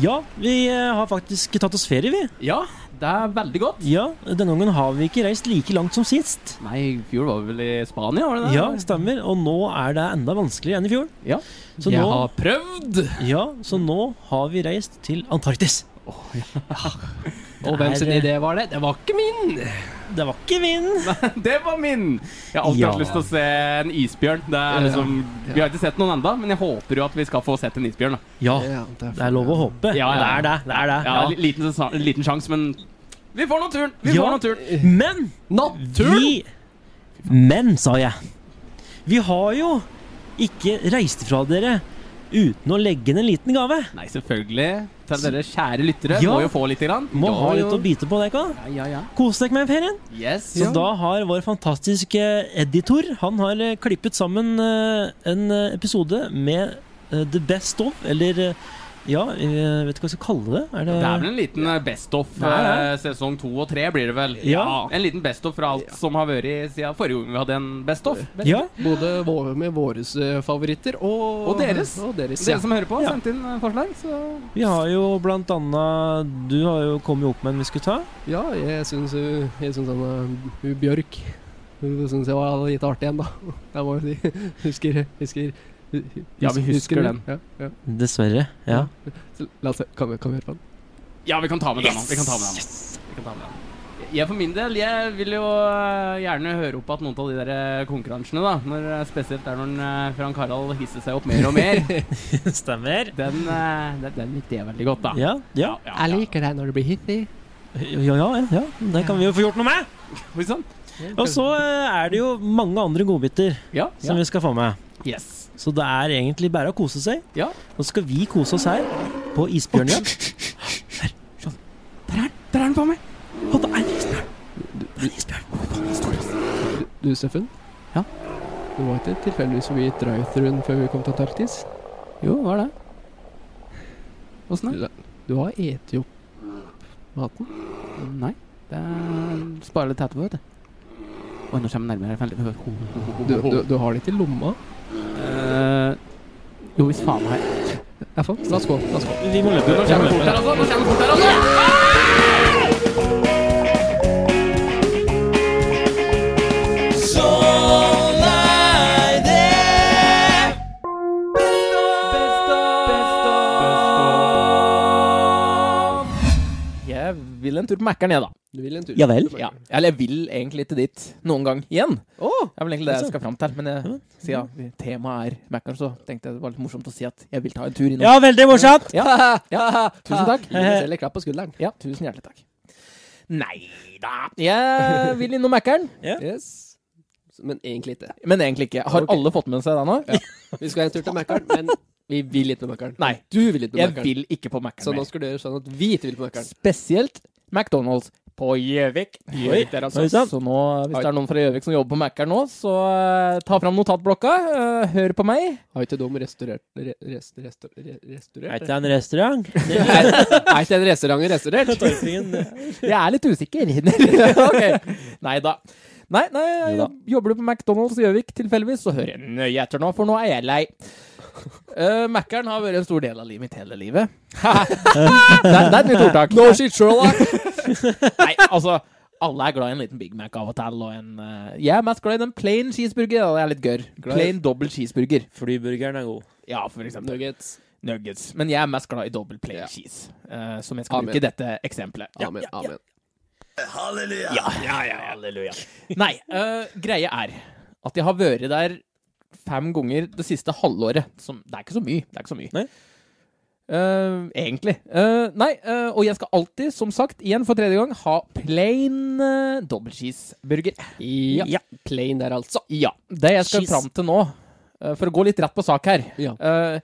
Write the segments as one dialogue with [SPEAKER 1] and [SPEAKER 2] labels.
[SPEAKER 1] Ja, vi eh, har faktisk tatt oss ferie, vi.
[SPEAKER 2] Ja, det er veldig godt.
[SPEAKER 1] Ja, Denne gangen har vi ikke reist like langt som sist.
[SPEAKER 2] Nei, i fjor var vi vel i Spania, var det det?
[SPEAKER 1] Ja, stemmer. Og nå er det enda vanskeligere enn i fjor.
[SPEAKER 2] Ja.
[SPEAKER 1] Så
[SPEAKER 2] Jeg
[SPEAKER 1] nå,
[SPEAKER 2] har prøvd!
[SPEAKER 1] ja, så nå har vi reist til Antarktis.
[SPEAKER 2] Og hvem sin
[SPEAKER 1] Der, eh,
[SPEAKER 2] idé var det? Det var ikke min!
[SPEAKER 1] Det var ikke min.
[SPEAKER 2] Det var min! Jeg har alltid
[SPEAKER 1] Ja.
[SPEAKER 2] hatt lyst til å se en isbjørn. Det er liksom, vi har ikke sett noen enda, men jeg håper jo at vi skal få sett en isbjørn. Da.
[SPEAKER 1] Ja,
[SPEAKER 3] Ja, det
[SPEAKER 1] det er lov å håpe.
[SPEAKER 2] Ja,
[SPEAKER 1] Det
[SPEAKER 2] ja.
[SPEAKER 1] er det. det, er det.
[SPEAKER 2] Ja, li- Liten, sesa- liten sjans, men vi får naturen! Vi
[SPEAKER 1] Ja.
[SPEAKER 2] får naturen!
[SPEAKER 1] Men
[SPEAKER 2] Naturen!
[SPEAKER 1] vi Men, sa jeg. Vi har jo ikke reist fra dere uten å legge inn en liten gave.
[SPEAKER 2] Nei, selvfølgelig. Til dere kjære lyttere.
[SPEAKER 1] Ja.
[SPEAKER 2] Må jo få lite grann.
[SPEAKER 1] Må
[SPEAKER 2] Ja,
[SPEAKER 1] ha
[SPEAKER 2] jo.
[SPEAKER 1] litt å bite på, dere kan.
[SPEAKER 2] Ja, ja, ja.
[SPEAKER 1] Kos dere med ferien.
[SPEAKER 2] Yes.
[SPEAKER 1] Så da har vår fantastiske editor Han har eh, klippet sammen eh, en eh, episode med eh, The Best Of, eller eh, ja, jeg vet ikke hva jeg skal kalle det. Er det,
[SPEAKER 2] Det er vel en liten eh, best of
[SPEAKER 1] Det er det.
[SPEAKER 2] eh, sesong to og tre, blir det vel?
[SPEAKER 1] Ja.
[SPEAKER 2] En liten best of fra alt som har vært siden forrige gang vi hadde en best of.
[SPEAKER 1] Ja,
[SPEAKER 3] Både vår, med våre eh, favoritter og
[SPEAKER 2] Og deres.
[SPEAKER 3] Og deres,
[SPEAKER 2] Dere
[SPEAKER 3] ja.
[SPEAKER 2] som hører på,
[SPEAKER 1] Ja.
[SPEAKER 2] sendt inn eh, forslag. Så
[SPEAKER 1] vi har jo blant annet Du har jo kommet opp med en vi skulle ta.
[SPEAKER 3] ja, jeg syns hun jeg syns han er- hun Bjørk Hun syns jeg var litt artig igjen, da. Jeg må jo si. Husker Husker hu- hu-
[SPEAKER 2] Ja, vi husker den.
[SPEAKER 3] Ja, ja.
[SPEAKER 1] Dessverre. Ja.
[SPEAKER 3] Så La oss se. Kan vi, kan vi høre på den?
[SPEAKER 2] ja, vi kan ta med den nå. Vi kan ta med den. Vi kan ta med den. Jeg for min del jeg vil jo eh, gjerne høre opp at noen av de der eh, konkurransene, da når eh, spesielt der når eh, Frank Harald hisser seg opp mer og mer,
[SPEAKER 1] Stemmer.
[SPEAKER 2] den, eh, den, den likte jeg veldig godt, da.
[SPEAKER 1] Ja, ja.
[SPEAKER 2] ja,
[SPEAKER 3] Jeg liker deg når du blir hissig.
[SPEAKER 1] Ja, ja, ja. Det kan vi jo få gjort noe med.
[SPEAKER 2] Oi sann.
[SPEAKER 1] Og så eh, er det jo mange andre godbiter
[SPEAKER 2] Ja.
[SPEAKER 1] som vi skal få med.
[SPEAKER 2] Yes.
[SPEAKER 1] Så det er egentlig bare å kose seg.
[SPEAKER 2] Ja.
[SPEAKER 1] Nå skal vi kose oss her på isbjørnjakt.
[SPEAKER 2] Der er den. Der er den på meg.
[SPEAKER 1] Og det er en isbjørn. Det er en isbjørn.
[SPEAKER 3] Du, Steffen?
[SPEAKER 2] Ja?
[SPEAKER 3] Du var ikke tilfeldigvis forbi drive-thruen før vi kom til Antarktis?
[SPEAKER 2] Jo, hva er det? Åssen er det?
[SPEAKER 3] Du, du har eti opp maten?
[SPEAKER 2] Nei. Det er sparer litt etterpå, vet du. Oi, nå kommer jeg nærmere. Vent litt.
[SPEAKER 3] Du, du, du har det ikke i lomma?
[SPEAKER 2] Eh, jo, hvis faen meg
[SPEAKER 3] Ja, faen. La oss gå. La oss gå.
[SPEAKER 1] Vi må løpe.
[SPEAKER 2] Nå kommer fort her, altså. Nå kommer fort her, altså.
[SPEAKER 4] Jeg vil en tur på Mækkern, jeg, da.
[SPEAKER 3] Du vil en tur?
[SPEAKER 1] Ja vel.
[SPEAKER 4] Ja. Eller jeg vil egentlig til dit noen gang igjen.
[SPEAKER 3] Å!
[SPEAKER 4] Det er vel egentlig det jeg skal fram til. Men jeg, siden temaet er Mækkern, så tenkte jeg det var litt morsomt å si at jeg vil ta en tur innom.
[SPEAKER 1] Ja, veldig morsomt.
[SPEAKER 4] Ja, ja, tusen takk.
[SPEAKER 3] Gi deg selv en klapp på skulderen.
[SPEAKER 4] Ja, tusen hjertelig takk. Nei da. Jeg vil innom Mækkern,
[SPEAKER 3] Yes. Så- Men egentlig ikke.
[SPEAKER 4] men egentlig ikke. Har
[SPEAKER 3] Ok.
[SPEAKER 4] alle fått med seg det nå?
[SPEAKER 3] Vi skal en tur til Mækkern, men vi vil ikke på Mækkern.
[SPEAKER 4] Nei.
[SPEAKER 3] Du vil ikke på
[SPEAKER 4] Jeg
[SPEAKER 3] Mækkern.
[SPEAKER 4] vil ikke på Mækkern
[SPEAKER 3] Så nå
[SPEAKER 4] mer.
[SPEAKER 3] skal du gjøre sånn at vi ikke vil på Mækkern.
[SPEAKER 4] Spesielt McDonald's på Gjøvik. Gjøvik der, altså.
[SPEAKER 1] Oi sann.
[SPEAKER 4] Så nå, hvis det er noen fra Gjøvik som jobber på Mækkern nå, så eh, ta fram notatblokka. eh, hør på meg.
[SPEAKER 3] Har ikke de restaurert re, rest, rest, re, Restaurert?
[SPEAKER 1] det en restaurant?
[SPEAKER 3] Er er ikke den restauranten restaurert?
[SPEAKER 4] Jeg er litt usikker. ok. Nei da. Nei, nei,
[SPEAKER 1] Jo da.
[SPEAKER 4] jobber du på McDonald's i Gjøvik tilfeldigvis, så hør nøye etter nå, for nå er jeg lei. Uh, Mækkern har vært en stor del av livet mitt hele livet. det, er- det er et nytt ordtak.
[SPEAKER 3] No shit, Sherlock!
[SPEAKER 4] Nei, altså alle er glad i en liten Big Mac av og til. Og en, eh, jeg er mest glad i den plain cheeseburger. Da, det er litt gørr.
[SPEAKER 3] Glad i-
[SPEAKER 4] Plain dobbel cheeseburger.
[SPEAKER 1] Flyburgeren er god.
[SPEAKER 4] Ja, for eksempel
[SPEAKER 3] Nuggets.
[SPEAKER 4] nuggets. Men jeg er mest glad i dobbel plain
[SPEAKER 3] Ja.
[SPEAKER 4] cheese, eh, som jeg skal
[SPEAKER 3] Amen.
[SPEAKER 4] bruke i dette eksempelet. Ja,
[SPEAKER 3] Amen.
[SPEAKER 4] ja, ja.
[SPEAKER 3] Amen.
[SPEAKER 4] Ja, ja, ja, halleluja. Nei, eh, greia er at jeg har vært der fem ganger det siste halvåret. Som, det er ikke så mye. Det er ikke så mye.
[SPEAKER 1] Nei.
[SPEAKER 4] Eh, egentlig. Eh, nei, eh, og jeg skal alltid, som sagt, igjen for tredje gang, ha plain uh, double cheeseburger.
[SPEAKER 3] Ja. Plain der, altså.
[SPEAKER 4] Ja. Det jeg skal
[SPEAKER 1] Cheese.
[SPEAKER 4] fram til nå, eh, for å gå litt rett på sak her
[SPEAKER 3] Ja.
[SPEAKER 4] eh,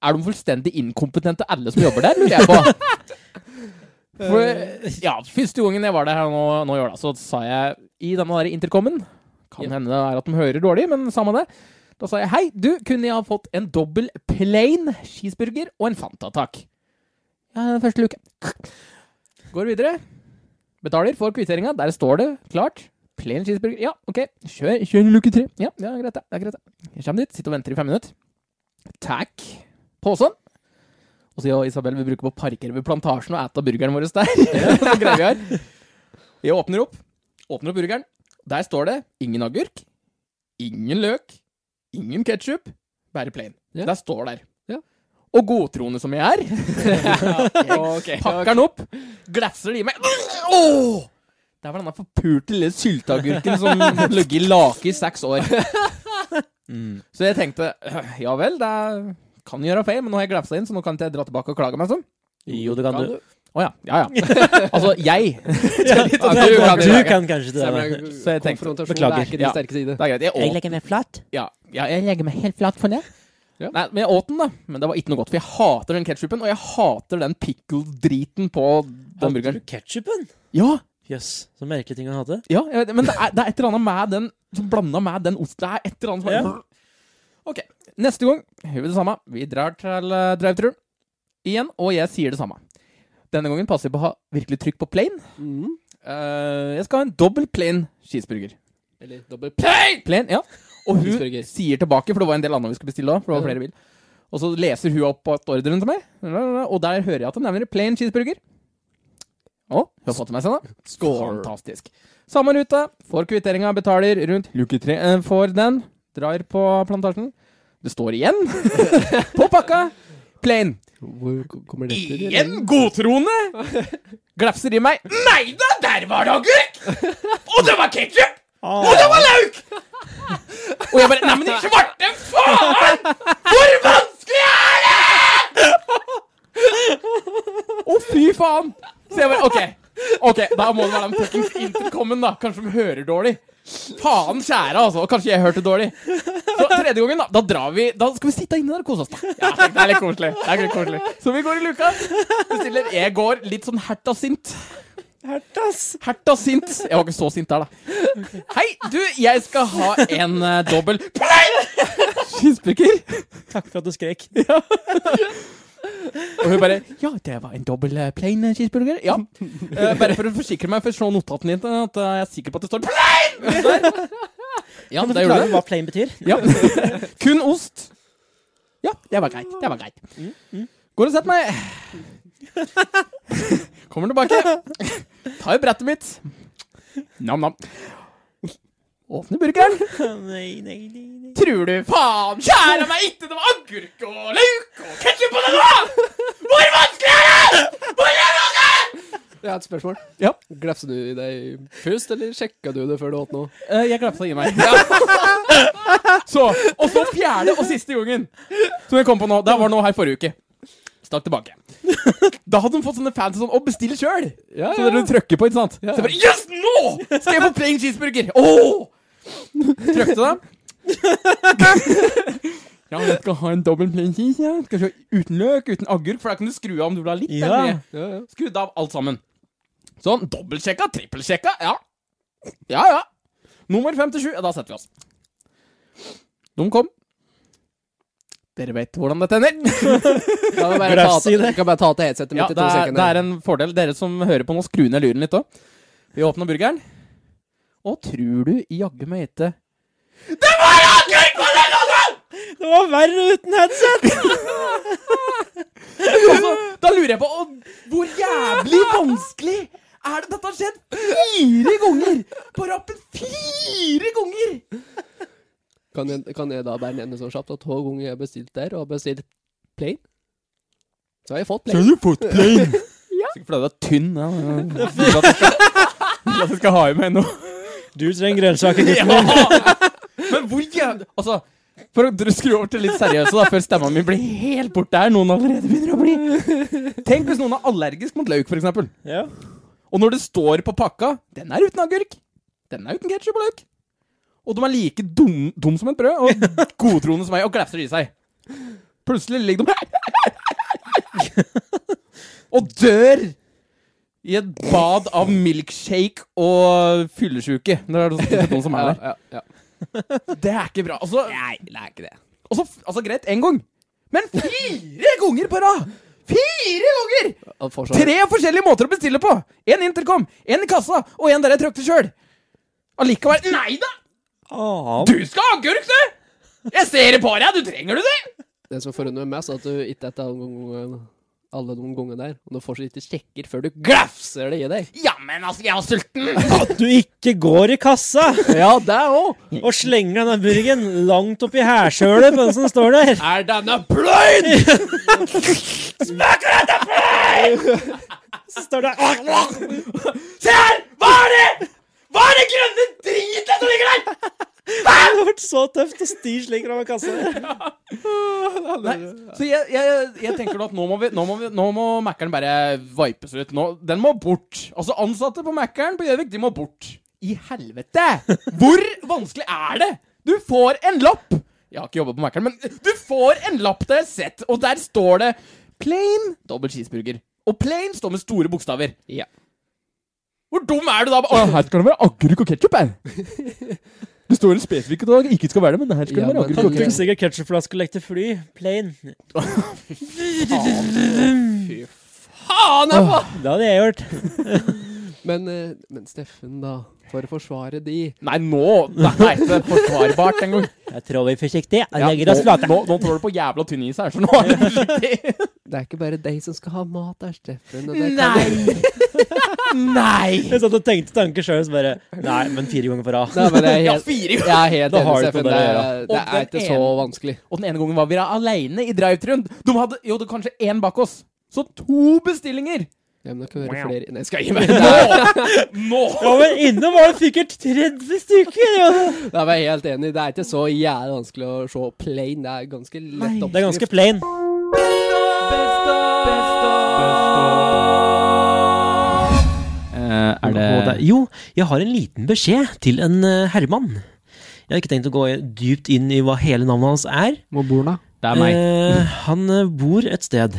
[SPEAKER 4] Er de fullstendig inkompetente, alle som jobber der, lurer jeg på? For, ja, første gangen jeg var der her nå, nå i år, da, så sa jeg i denne der intercomen Kan
[SPEAKER 3] Ja.
[SPEAKER 4] hende det er at de hører dårlig, men samme det. Da sa jeg hei, du, kunne jeg ha fått en dobbel plain cheeseburger og en Fanta, takk? Ja, den første luke. Går videre. Betaler, får kvitteringa. Der står det klart. Plain cheeseburger. Ja, ok. Kjør, kjør i luke tre. Ja, ja, greit det. det er greit det. Jeg kommer dit, sitter og venter i fem minutter. Takk. Påsen. Og så jeg og Isabel vil bruke på å parkere ved plantasjen og ete burgeren vår der. så greier sånn vi her. Jeg åpner opp. Åpner opp burgeren. Der står det ingen agurk, ingen løk, ingen ketsjup, bare plain.
[SPEAKER 3] Ja.
[SPEAKER 4] Der står der.
[SPEAKER 3] Ja.
[SPEAKER 4] Og godtroende som jeg er, pakker den opp, glefser det i meg. Åh! Der var denne forpurte lille sylteagurken som hadde ligget i lake i seks år.
[SPEAKER 1] Mm.
[SPEAKER 4] Så jeg tenkte øh, ja vel, det er- kan gjøre feil, men nå har jeg glefsa inn, så nå kan ikke jeg dra tilbake og klage meg sånn.
[SPEAKER 1] Jo, det kan du.
[SPEAKER 4] Å ja. Ja ja. Altså, jeg.
[SPEAKER 1] Du kan,
[SPEAKER 4] du kan
[SPEAKER 1] du
[SPEAKER 4] det.
[SPEAKER 1] kan kanskje det. da.
[SPEAKER 4] Så jeg tenkte,
[SPEAKER 3] Konfrontasjon
[SPEAKER 1] beklager.
[SPEAKER 3] det er ikke din
[SPEAKER 4] Ja.
[SPEAKER 3] sterke side.
[SPEAKER 4] Det er greit. Jeg åt
[SPEAKER 1] legger meg flat.
[SPEAKER 4] Ja, ja, jeg legger meg helt flat for det.
[SPEAKER 3] Ja.
[SPEAKER 4] Nei, men jeg åt den, da. Men det var ikke noe godt, for jeg hater den ketsjupen, og jeg hater den pickle-driten på den
[SPEAKER 1] Hadde
[SPEAKER 4] burgeren.
[SPEAKER 1] du ketsjupen?
[SPEAKER 4] Ja,
[SPEAKER 1] Jøss, så merkelig ting han hadde.
[SPEAKER 4] ja, jeg vet, det, men det er, det er et eller annet med den som blanda med den osten. Det er et eller annet som
[SPEAKER 1] Ja.
[SPEAKER 4] er Ok, neste gang gjør vi det samme. Vi drar til uh, drive-thru igjen, og jeg sier det samme. Denne gangen passer jeg på å ha virkelig trykk på plain.
[SPEAKER 3] Mhm.
[SPEAKER 4] Eh, jeg skal ha en dobbel plain cheeseburger.
[SPEAKER 3] Eller dobbelt
[SPEAKER 4] Plain! Plain, ja. Og hun
[SPEAKER 3] Cheeseburger.
[SPEAKER 4] sier tilbake, for det var en del annet vi skulle bestille òg. For det var flere bil. Og så leser hun opp at ordren til meg, og der hører jeg at hun nevner plain cheeseburger. Å, hun har fått med seg det. Fantastisk. Samme rute. Får kvitteringa, betaler rundt luke tre eh, for den. Drar på plantasjen. Det står igjen på pakka. Plain.
[SPEAKER 3] Hvor ko- kommer dette til?
[SPEAKER 4] Igjen godtroende! Glefser i meg. Nei da, der var det agurk! Og det var ketsjup! Og det var lauk! Og jeg bare Nei, men i svarte faen! Hvor vanskelig er det?! Å, fy faen! Så jeg bare OK, ok, da må det være den fuckings intercomen, da. Kanskje de hører dårlig. Faen kjære, altså. Og Kanskje jeg hørte dårlig. Så tredje gangen, da. Da drar vi Da skal vi sitte inne der og kose oss, da. Ja, det er litt koselig. Det er litt koselig. Så vi går i luka. Bestiller. Jeg går litt sånn herta sint. Herta sint. Jeg var ikke så sint der, da. Hei, du, jeg skal ha en eh, dobbel cheeseburger.
[SPEAKER 1] Takk for at du skrek.
[SPEAKER 4] Og hun bare Ja, det var en dobbel eh, plain cheeseburger. Ja. Eh, bare for å forsikre meg, for å slå notatene dine, at eh, jeg er sikker på at det står plain! Der. Ja,
[SPEAKER 1] Kan du
[SPEAKER 4] det
[SPEAKER 1] forklare
[SPEAKER 4] gjorde det.
[SPEAKER 1] hva plain betyr?
[SPEAKER 4] Ja. Kun ost. Ja, det var greit. Det var greit. Går og setter meg. Kommer tilbake. Tar brettet mitt. Nam-nam. Åpner burgeren.
[SPEAKER 1] Nei, nei, nei, nei.
[SPEAKER 4] Tror du faen kjære meg ikke det var agurk og løk og ketsjup på det nå?! Hvor vanskelig er det?! Hvor er det vanskelig?!
[SPEAKER 3] Jeg har et spørsmål.
[SPEAKER 4] Ja.
[SPEAKER 3] Glefsa du i deg først, eller sjekka du det før du åt nå?
[SPEAKER 4] Eh, jeg glefsa i meg. Så, Og så fjerde og siste gangen som jeg kom på nå. Det var nå her forrige uke. Stakk tilbake. Da hadde de fått sånne fans sånn, å bestille sjøl.
[SPEAKER 3] Ja,
[SPEAKER 4] Så dere trykker på, ikke sant? Så jeg bare Yes, nå skal jeg få plain cheeseburger! Åh! Trykte det. Ja, men jeg skal ha en dobbel plain cheese. Ja. Skal vi se, Uten løk, uten agurk, for da kan du skru av om du vil ha litt.
[SPEAKER 1] Ja.
[SPEAKER 4] eller mye.
[SPEAKER 3] ja, ja.
[SPEAKER 4] Skrudd av alt sammen. Sånn. Dobbeltsjekka, trippelsjekka. Ja. Ja, ja. Nummer fem til sju. Ja, da setter vi oss. De kom. Dere vet hvordan dette ender.
[SPEAKER 3] Kan jeg bare
[SPEAKER 1] Glefs
[SPEAKER 3] ta
[SPEAKER 1] i
[SPEAKER 3] til-
[SPEAKER 1] det.
[SPEAKER 3] Kan jeg bare ta til headsetet mitt
[SPEAKER 4] Ja,
[SPEAKER 3] i
[SPEAKER 4] det
[SPEAKER 3] to
[SPEAKER 4] er, det er
[SPEAKER 3] sekunder?
[SPEAKER 4] en fordel. Dere som hører på nå, skru ned lyden litt òg. Vi åpner burgeren. Og tror du jaggu meg ikke
[SPEAKER 1] Det var verre uten headset!
[SPEAKER 4] Altså, Da lurer jeg på å, hvor jævlig vanskelig er det? Dette har skjedd fire ganger! På rappen fire ganger!
[SPEAKER 3] Kan jeg, kan jeg da bare nevne så kjapt at hver gang jeg har bestilt der, og har bestilt plain, så har jeg fått plain.
[SPEAKER 4] du fått plain? Sikkert fordi du er tynn. Ja. Vil at jeg skal- vil at jeg skal ha i meg noe.
[SPEAKER 1] Du trenger grønnsaker, gutten min.
[SPEAKER 4] Ja! Men hvor jævlig Altså, for å dr- skru over til litt seriøse, da, før stemma mi blir helt borte her Noen allerede begynner å bli Tenk hvis noen er allergisk mot løk, f.eks. Og
[SPEAKER 1] Ja.
[SPEAKER 4] når det står på pakka 'Den er uten agurk', 'Den er uten ketsjup og løk', og de er like dum, dum som et brød, og godtroende som meg, og glefser i seg Plutselig ligger de Og dør! I et bad av milkshake og fyllesyke. Det er det noen som er der.
[SPEAKER 3] Ja, ja, ja.
[SPEAKER 4] Det er ikke bra. Altså, Nei, det er ikke det. Altså, f- altså greit, én gang. Men fire ganger på rad! Fire ganger!
[SPEAKER 3] Og fortsatt-
[SPEAKER 4] Tre forskjellige måter å bestille på! Én intercom, én i kassa og én der jeg trykte sjøl. Allikevel Nei da!
[SPEAKER 1] Ah,
[SPEAKER 4] Du skal ha agurk, du! Jeg ser det på deg! Du trenger du det!
[SPEAKER 3] Det som forundrer meg mest, er at du ikke etter en gang alle de gangene der, og du får så lite kjekker før du glafser det i deg.
[SPEAKER 4] Ja, men altså, jeg var sulten!
[SPEAKER 1] At du ikke går i kassa
[SPEAKER 4] Ja, det òg!
[SPEAKER 1] og slenger denne burgen langt oppi hærsølet på den som står der.
[SPEAKER 4] Er denne pløyd?!
[SPEAKER 1] Så står det
[SPEAKER 4] Se her! Hva er det?! Hva er det grønne dritet som ligger der?!
[SPEAKER 1] Det hadde vært så tøft å styre slik over kassa. der.
[SPEAKER 4] Nei, så jeg, jeg, jeg tenker da at nå må, vi, nå må, vi, nå må Mækkern bare vipes ut. Nå, den må bort. Altså, ansatte på Mækkern på Gjøvik, de må bort. I helvete! Hvor vanskelig er det? Du får en lapp! Jeg har ikke jobba på Mækkern, men du får en lapp det er sett, og der står det Plain dobbel cheeseburger. Og plain står med store bokstaver.
[SPEAKER 3] Ja.
[SPEAKER 4] Hvor dum er du da? Å, her skal det være agurk og ketsjup, her. Det står en spesifikk at det ikke skal være det, men her skal
[SPEAKER 3] Ja,
[SPEAKER 4] det være
[SPEAKER 3] men-
[SPEAKER 4] agurk og
[SPEAKER 1] Tok
[SPEAKER 4] ketsjup.
[SPEAKER 1] sikkert ketsjupflaske og lekte fly. Plain.
[SPEAKER 4] Faen, jeg får-
[SPEAKER 1] Det hadde jeg gjort.
[SPEAKER 3] Men, eh, men Steffen, da. For å forsvare de.
[SPEAKER 4] Nei, nå Det er ikke forsvarbart engang.
[SPEAKER 1] Jeg trår vi forsiktig. Jeg
[SPEAKER 4] Ja,
[SPEAKER 1] legger oss
[SPEAKER 4] nå,
[SPEAKER 1] flate.
[SPEAKER 4] nå, nå trår du på jævla tynn is her, så nå er det forsiktig.
[SPEAKER 3] Det er ikke bare deg som skal ha mat der, Steffen. Og det kan du-
[SPEAKER 4] Nei! Nei!
[SPEAKER 1] Jeg satt og tenkte tanker sjøl, så bare Nei, men fire ganger på rad.
[SPEAKER 3] Nei, men jeg er
[SPEAKER 4] Ja,
[SPEAKER 3] helt,
[SPEAKER 4] fire
[SPEAKER 3] jeg er helt
[SPEAKER 1] Da har
[SPEAKER 3] enig,
[SPEAKER 1] du ikke
[SPEAKER 3] Steffen.
[SPEAKER 1] noe
[SPEAKER 3] Det,
[SPEAKER 1] der å
[SPEAKER 3] er-
[SPEAKER 4] gjøre.
[SPEAKER 3] det
[SPEAKER 4] Og
[SPEAKER 3] er
[SPEAKER 4] den
[SPEAKER 3] ikke så vanskelig.
[SPEAKER 4] Og den ene gangen var vi da aleine i drive-thruen. De hadde jo det var kanskje én bak oss. Så to bestillinger!
[SPEAKER 3] Ja, men det kan være flere Nei, skal jeg
[SPEAKER 4] Gi meg- Nå! Nå!
[SPEAKER 1] Ja, men innom var det sikkert 30 stykker! Ja.
[SPEAKER 3] Da var jeg helt enig. Det er ikke så jævlig vanskelig å se plain. Det er ganske lett oppskrift.
[SPEAKER 1] Det er ganske plain.
[SPEAKER 2] er det
[SPEAKER 1] Og det- Jo, jeg har en liten beskjed til en eh, herremann. Jeg har ikke tenkt å gå i- dypt inn i hva hele navnet hans er.
[SPEAKER 3] Hvor bor han, da?
[SPEAKER 2] Det er meg.
[SPEAKER 1] Eh, han eh, bor et sted.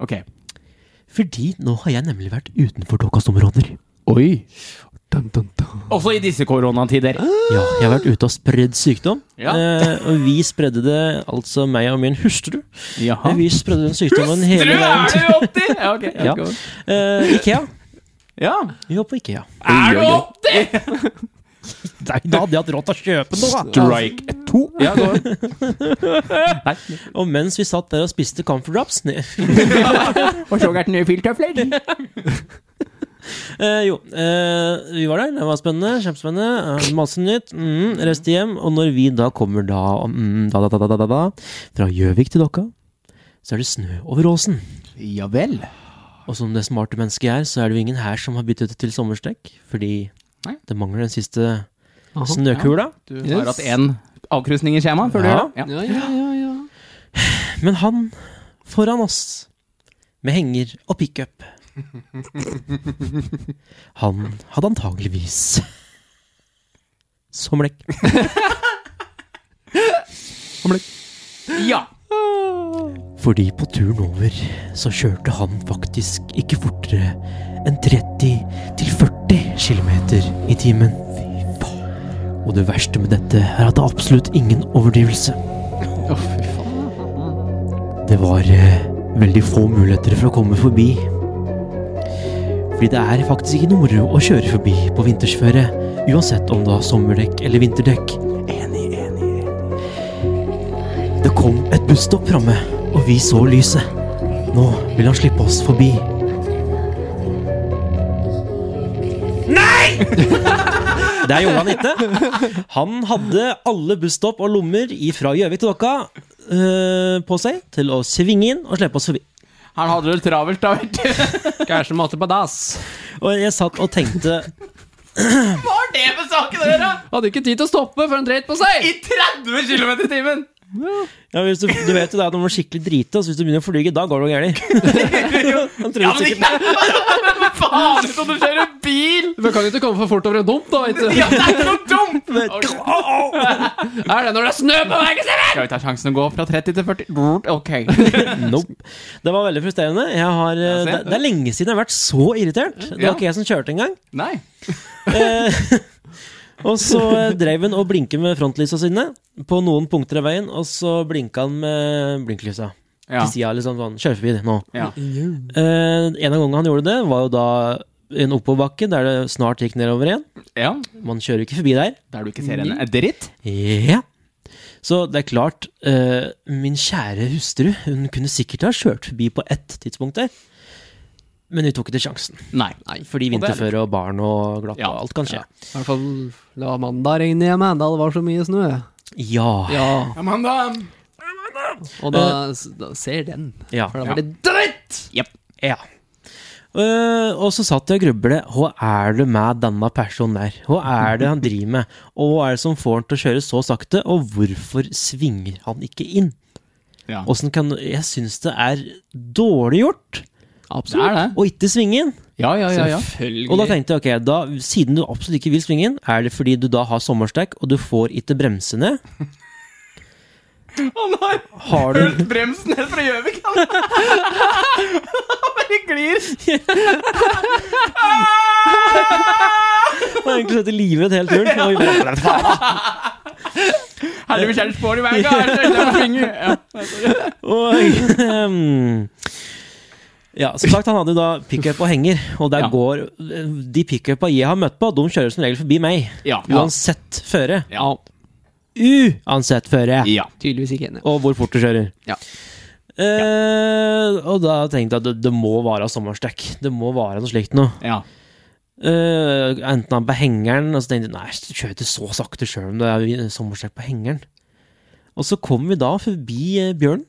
[SPEAKER 2] Ok.
[SPEAKER 1] Fordi nå har jeg nemlig vært utenfor tokastområder.
[SPEAKER 2] Oi.
[SPEAKER 3] Dun, dun, dun.
[SPEAKER 2] Også i disse koronatider.
[SPEAKER 1] Ja, jeg har vært ute og spredd sykdom.
[SPEAKER 2] Ja.
[SPEAKER 1] Eh, og vi spredde det, altså meg og min hustru.
[SPEAKER 2] Jaha.
[SPEAKER 1] Vi spredde den sykdommen
[SPEAKER 2] Tror
[SPEAKER 1] hele
[SPEAKER 2] du
[SPEAKER 1] veien
[SPEAKER 2] er
[SPEAKER 1] til
[SPEAKER 2] du opp til? Ja, ok.
[SPEAKER 1] Ja. eh, Ikea.
[SPEAKER 2] ja.
[SPEAKER 1] Vi var på Ikea.
[SPEAKER 2] Er du opp til?
[SPEAKER 1] Nei, da hadde jeg hatt råd til å kjøpe noe! da.
[SPEAKER 2] Strike to. Ja, gå. Nei.
[SPEAKER 1] Og mens vi satt der og spiste Comfort Drops ne-
[SPEAKER 2] Og så gærent nye filtøfler.
[SPEAKER 1] Eh, Jo, eh, vi var der. Det var spennende. Kjempespennende. eh, Masse nytt. Mm, Reiste hjem. Og når vi da kommer da, mm, da, da, da, da, da, da, da fra Gjøvik til Dokka, så er det snø over åsen.
[SPEAKER 2] Ja vel.
[SPEAKER 1] Og som det smarte mennesket jeg er, så er det jo ingen her som har byttet til sommerstek, fordi
[SPEAKER 2] Nei.
[SPEAKER 1] det mangler den siste snøkula.
[SPEAKER 2] Du
[SPEAKER 3] Yes.
[SPEAKER 2] har hatt én avkrysning i skjemaet før du
[SPEAKER 1] Ja.
[SPEAKER 2] gjør det?
[SPEAKER 3] Ja, ja, ja, ja.
[SPEAKER 1] Men han foran oss, med henger og pickup Han hadde antageligvis sommerlekk.
[SPEAKER 2] Ja.
[SPEAKER 1] Fordi på turen over så kjørte han faktisk ikke fortere enn 30 til 40 km i timen. Og det verste med dette er at det er absolutt ingen overdrivelse. Det var eh, veldig få muligheter for å komme forbi. Fordi det er faktisk ikke noe moro å kjøre forbi på vintersføre, uansett om du har sommerdekk eller vinterdekk. Enig, enig, enig. Det kom et busstopp framme, og vi så lyset. Nå vil han slippe oss forbi. Nei! Der gjorde han ikke. Han hadde alle busstopp og lommer fra Gjøvik til Dokka eh, på seg til å svinge inn og slippe oss forbi.
[SPEAKER 2] Han hadde vel travelt, da, vet du.
[SPEAKER 3] Kanskje måtte på dass.
[SPEAKER 1] Og jeg satt og tenkte
[SPEAKER 2] Hva har det med saken å gjøre?
[SPEAKER 3] Hadde ikke tid til å stoppe før han dreit på seg!
[SPEAKER 2] I 30 km i timen!
[SPEAKER 1] ja, hvis du, du vet jo det at når man er skikkelig drita, så hvis du begynner å flyge, da går det noe gærent. Han trodde
[SPEAKER 2] Ja, men
[SPEAKER 1] sikkert-
[SPEAKER 2] ikke Men faen, det er sånn du kjører bil!
[SPEAKER 3] Men kan ikke komme for fort over en dump, da, vet du.
[SPEAKER 2] Ja, det er ikke noe dumt! Ok.
[SPEAKER 3] Er det når det er snø på veien?
[SPEAKER 2] Skal vi ta sjansen å gå fra 30 til 40? Brrrt, Ok.
[SPEAKER 1] Nope. Det var veldig frustrerende. Jeg har, eh,
[SPEAKER 2] Ja, se.
[SPEAKER 1] det, det er lenge siden jeg har vært så irritert. Det
[SPEAKER 2] Ja.
[SPEAKER 1] var ikke jeg som kjørte engang.
[SPEAKER 2] Nei.
[SPEAKER 1] Eh, og så eh, dreiv han og blinket med frontlysa sine på noen punkter av veien, og så blinka han med blinklysa.
[SPEAKER 2] Ja.
[SPEAKER 1] Til sida, liksom sånn. Kjør forbi nå.
[SPEAKER 2] ja.
[SPEAKER 1] Eh, en av gangene han gjorde det, var jo da en oppoverbakke der det snart gikk nedover igjen.
[SPEAKER 2] ja.
[SPEAKER 1] Man kjører jo ikke forbi der.
[SPEAKER 2] Der du ikke ser en dritt?
[SPEAKER 1] Ja. Så det er klart, eh, min kjære hustru hun kunne sikkert ha kjørt forbi på ett tidspunkt der, men hun tok ikke sjansen.
[SPEAKER 2] Nei.
[SPEAKER 1] Fordi
[SPEAKER 2] Og det er lurt.
[SPEAKER 1] vinterføre og barn og glatt
[SPEAKER 2] Ja,
[SPEAKER 1] og alt kan skje.
[SPEAKER 3] I hvert fall la mandag regne hjemme, da det var så mye snø.
[SPEAKER 1] Ja.
[SPEAKER 3] Ja,
[SPEAKER 2] Amanda!
[SPEAKER 4] um,
[SPEAKER 3] og da, da ser den.
[SPEAKER 1] ja.
[SPEAKER 3] For da
[SPEAKER 2] Ja.
[SPEAKER 3] var det dritt!
[SPEAKER 2] Jepp.
[SPEAKER 1] Ja. Eh, og så satt jeg og grublet. Hva er det med denne personen der? Hva er det han driver med? Og hva er det som får han til å kjøre så sakte? Og hvorfor svinger han ikke inn?
[SPEAKER 2] Ja.
[SPEAKER 1] Hvordan kan, jeg syns det er dårlig gjort
[SPEAKER 2] Det er det.
[SPEAKER 1] å ikke svinge inn.
[SPEAKER 2] Ja, ja, ja, ja.
[SPEAKER 1] Og da tenkte jeg ok, da, siden du absolutt ikke vil svinge inn, er det fordi du da har sommerstek og du får ikke bremse ned?
[SPEAKER 2] Han har
[SPEAKER 1] Har du
[SPEAKER 2] fulgt bremsen helt fra Gjøvik! Han Han bare glir!
[SPEAKER 1] Jeg har egentlig sett livredd hele turen? Og,
[SPEAKER 2] Heldigvis er det spår i veien! da. Er det så ille å svinge? Ja.
[SPEAKER 1] og, ehm, ja, som sagt, han hadde jo da pickup og henger, og der
[SPEAKER 2] Ja.
[SPEAKER 1] går De pickupa jeg har møtt på, de kjører som regel forbi meg.
[SPEAKER 2] Ja.
[SPEAKER 1] Uansett føre.
[SPEAKER 2] Ja.
[SPEAKER 1] Uansett føre!
[SPEAKER 2] ja.
[SPEAKER 3] Tydeligvis ikke enig.
[SPEAKER 1] Og hvor fort du kjører.
[SPEAKER 3] Ja.
[SPEAKER 1] Eh, og da tenkte jeg at det, det må være sommerstek. Det må være noe slikt noe.
[SPEAKER 2] ja.
[SPEAKER 1] Eh, enten han på hengeren, og så tenkte jeg nei, jeg kjører ikke så sakte sjøl om det er sommerstek på hengeren. Og så kom vi da forbi eh, Bjørn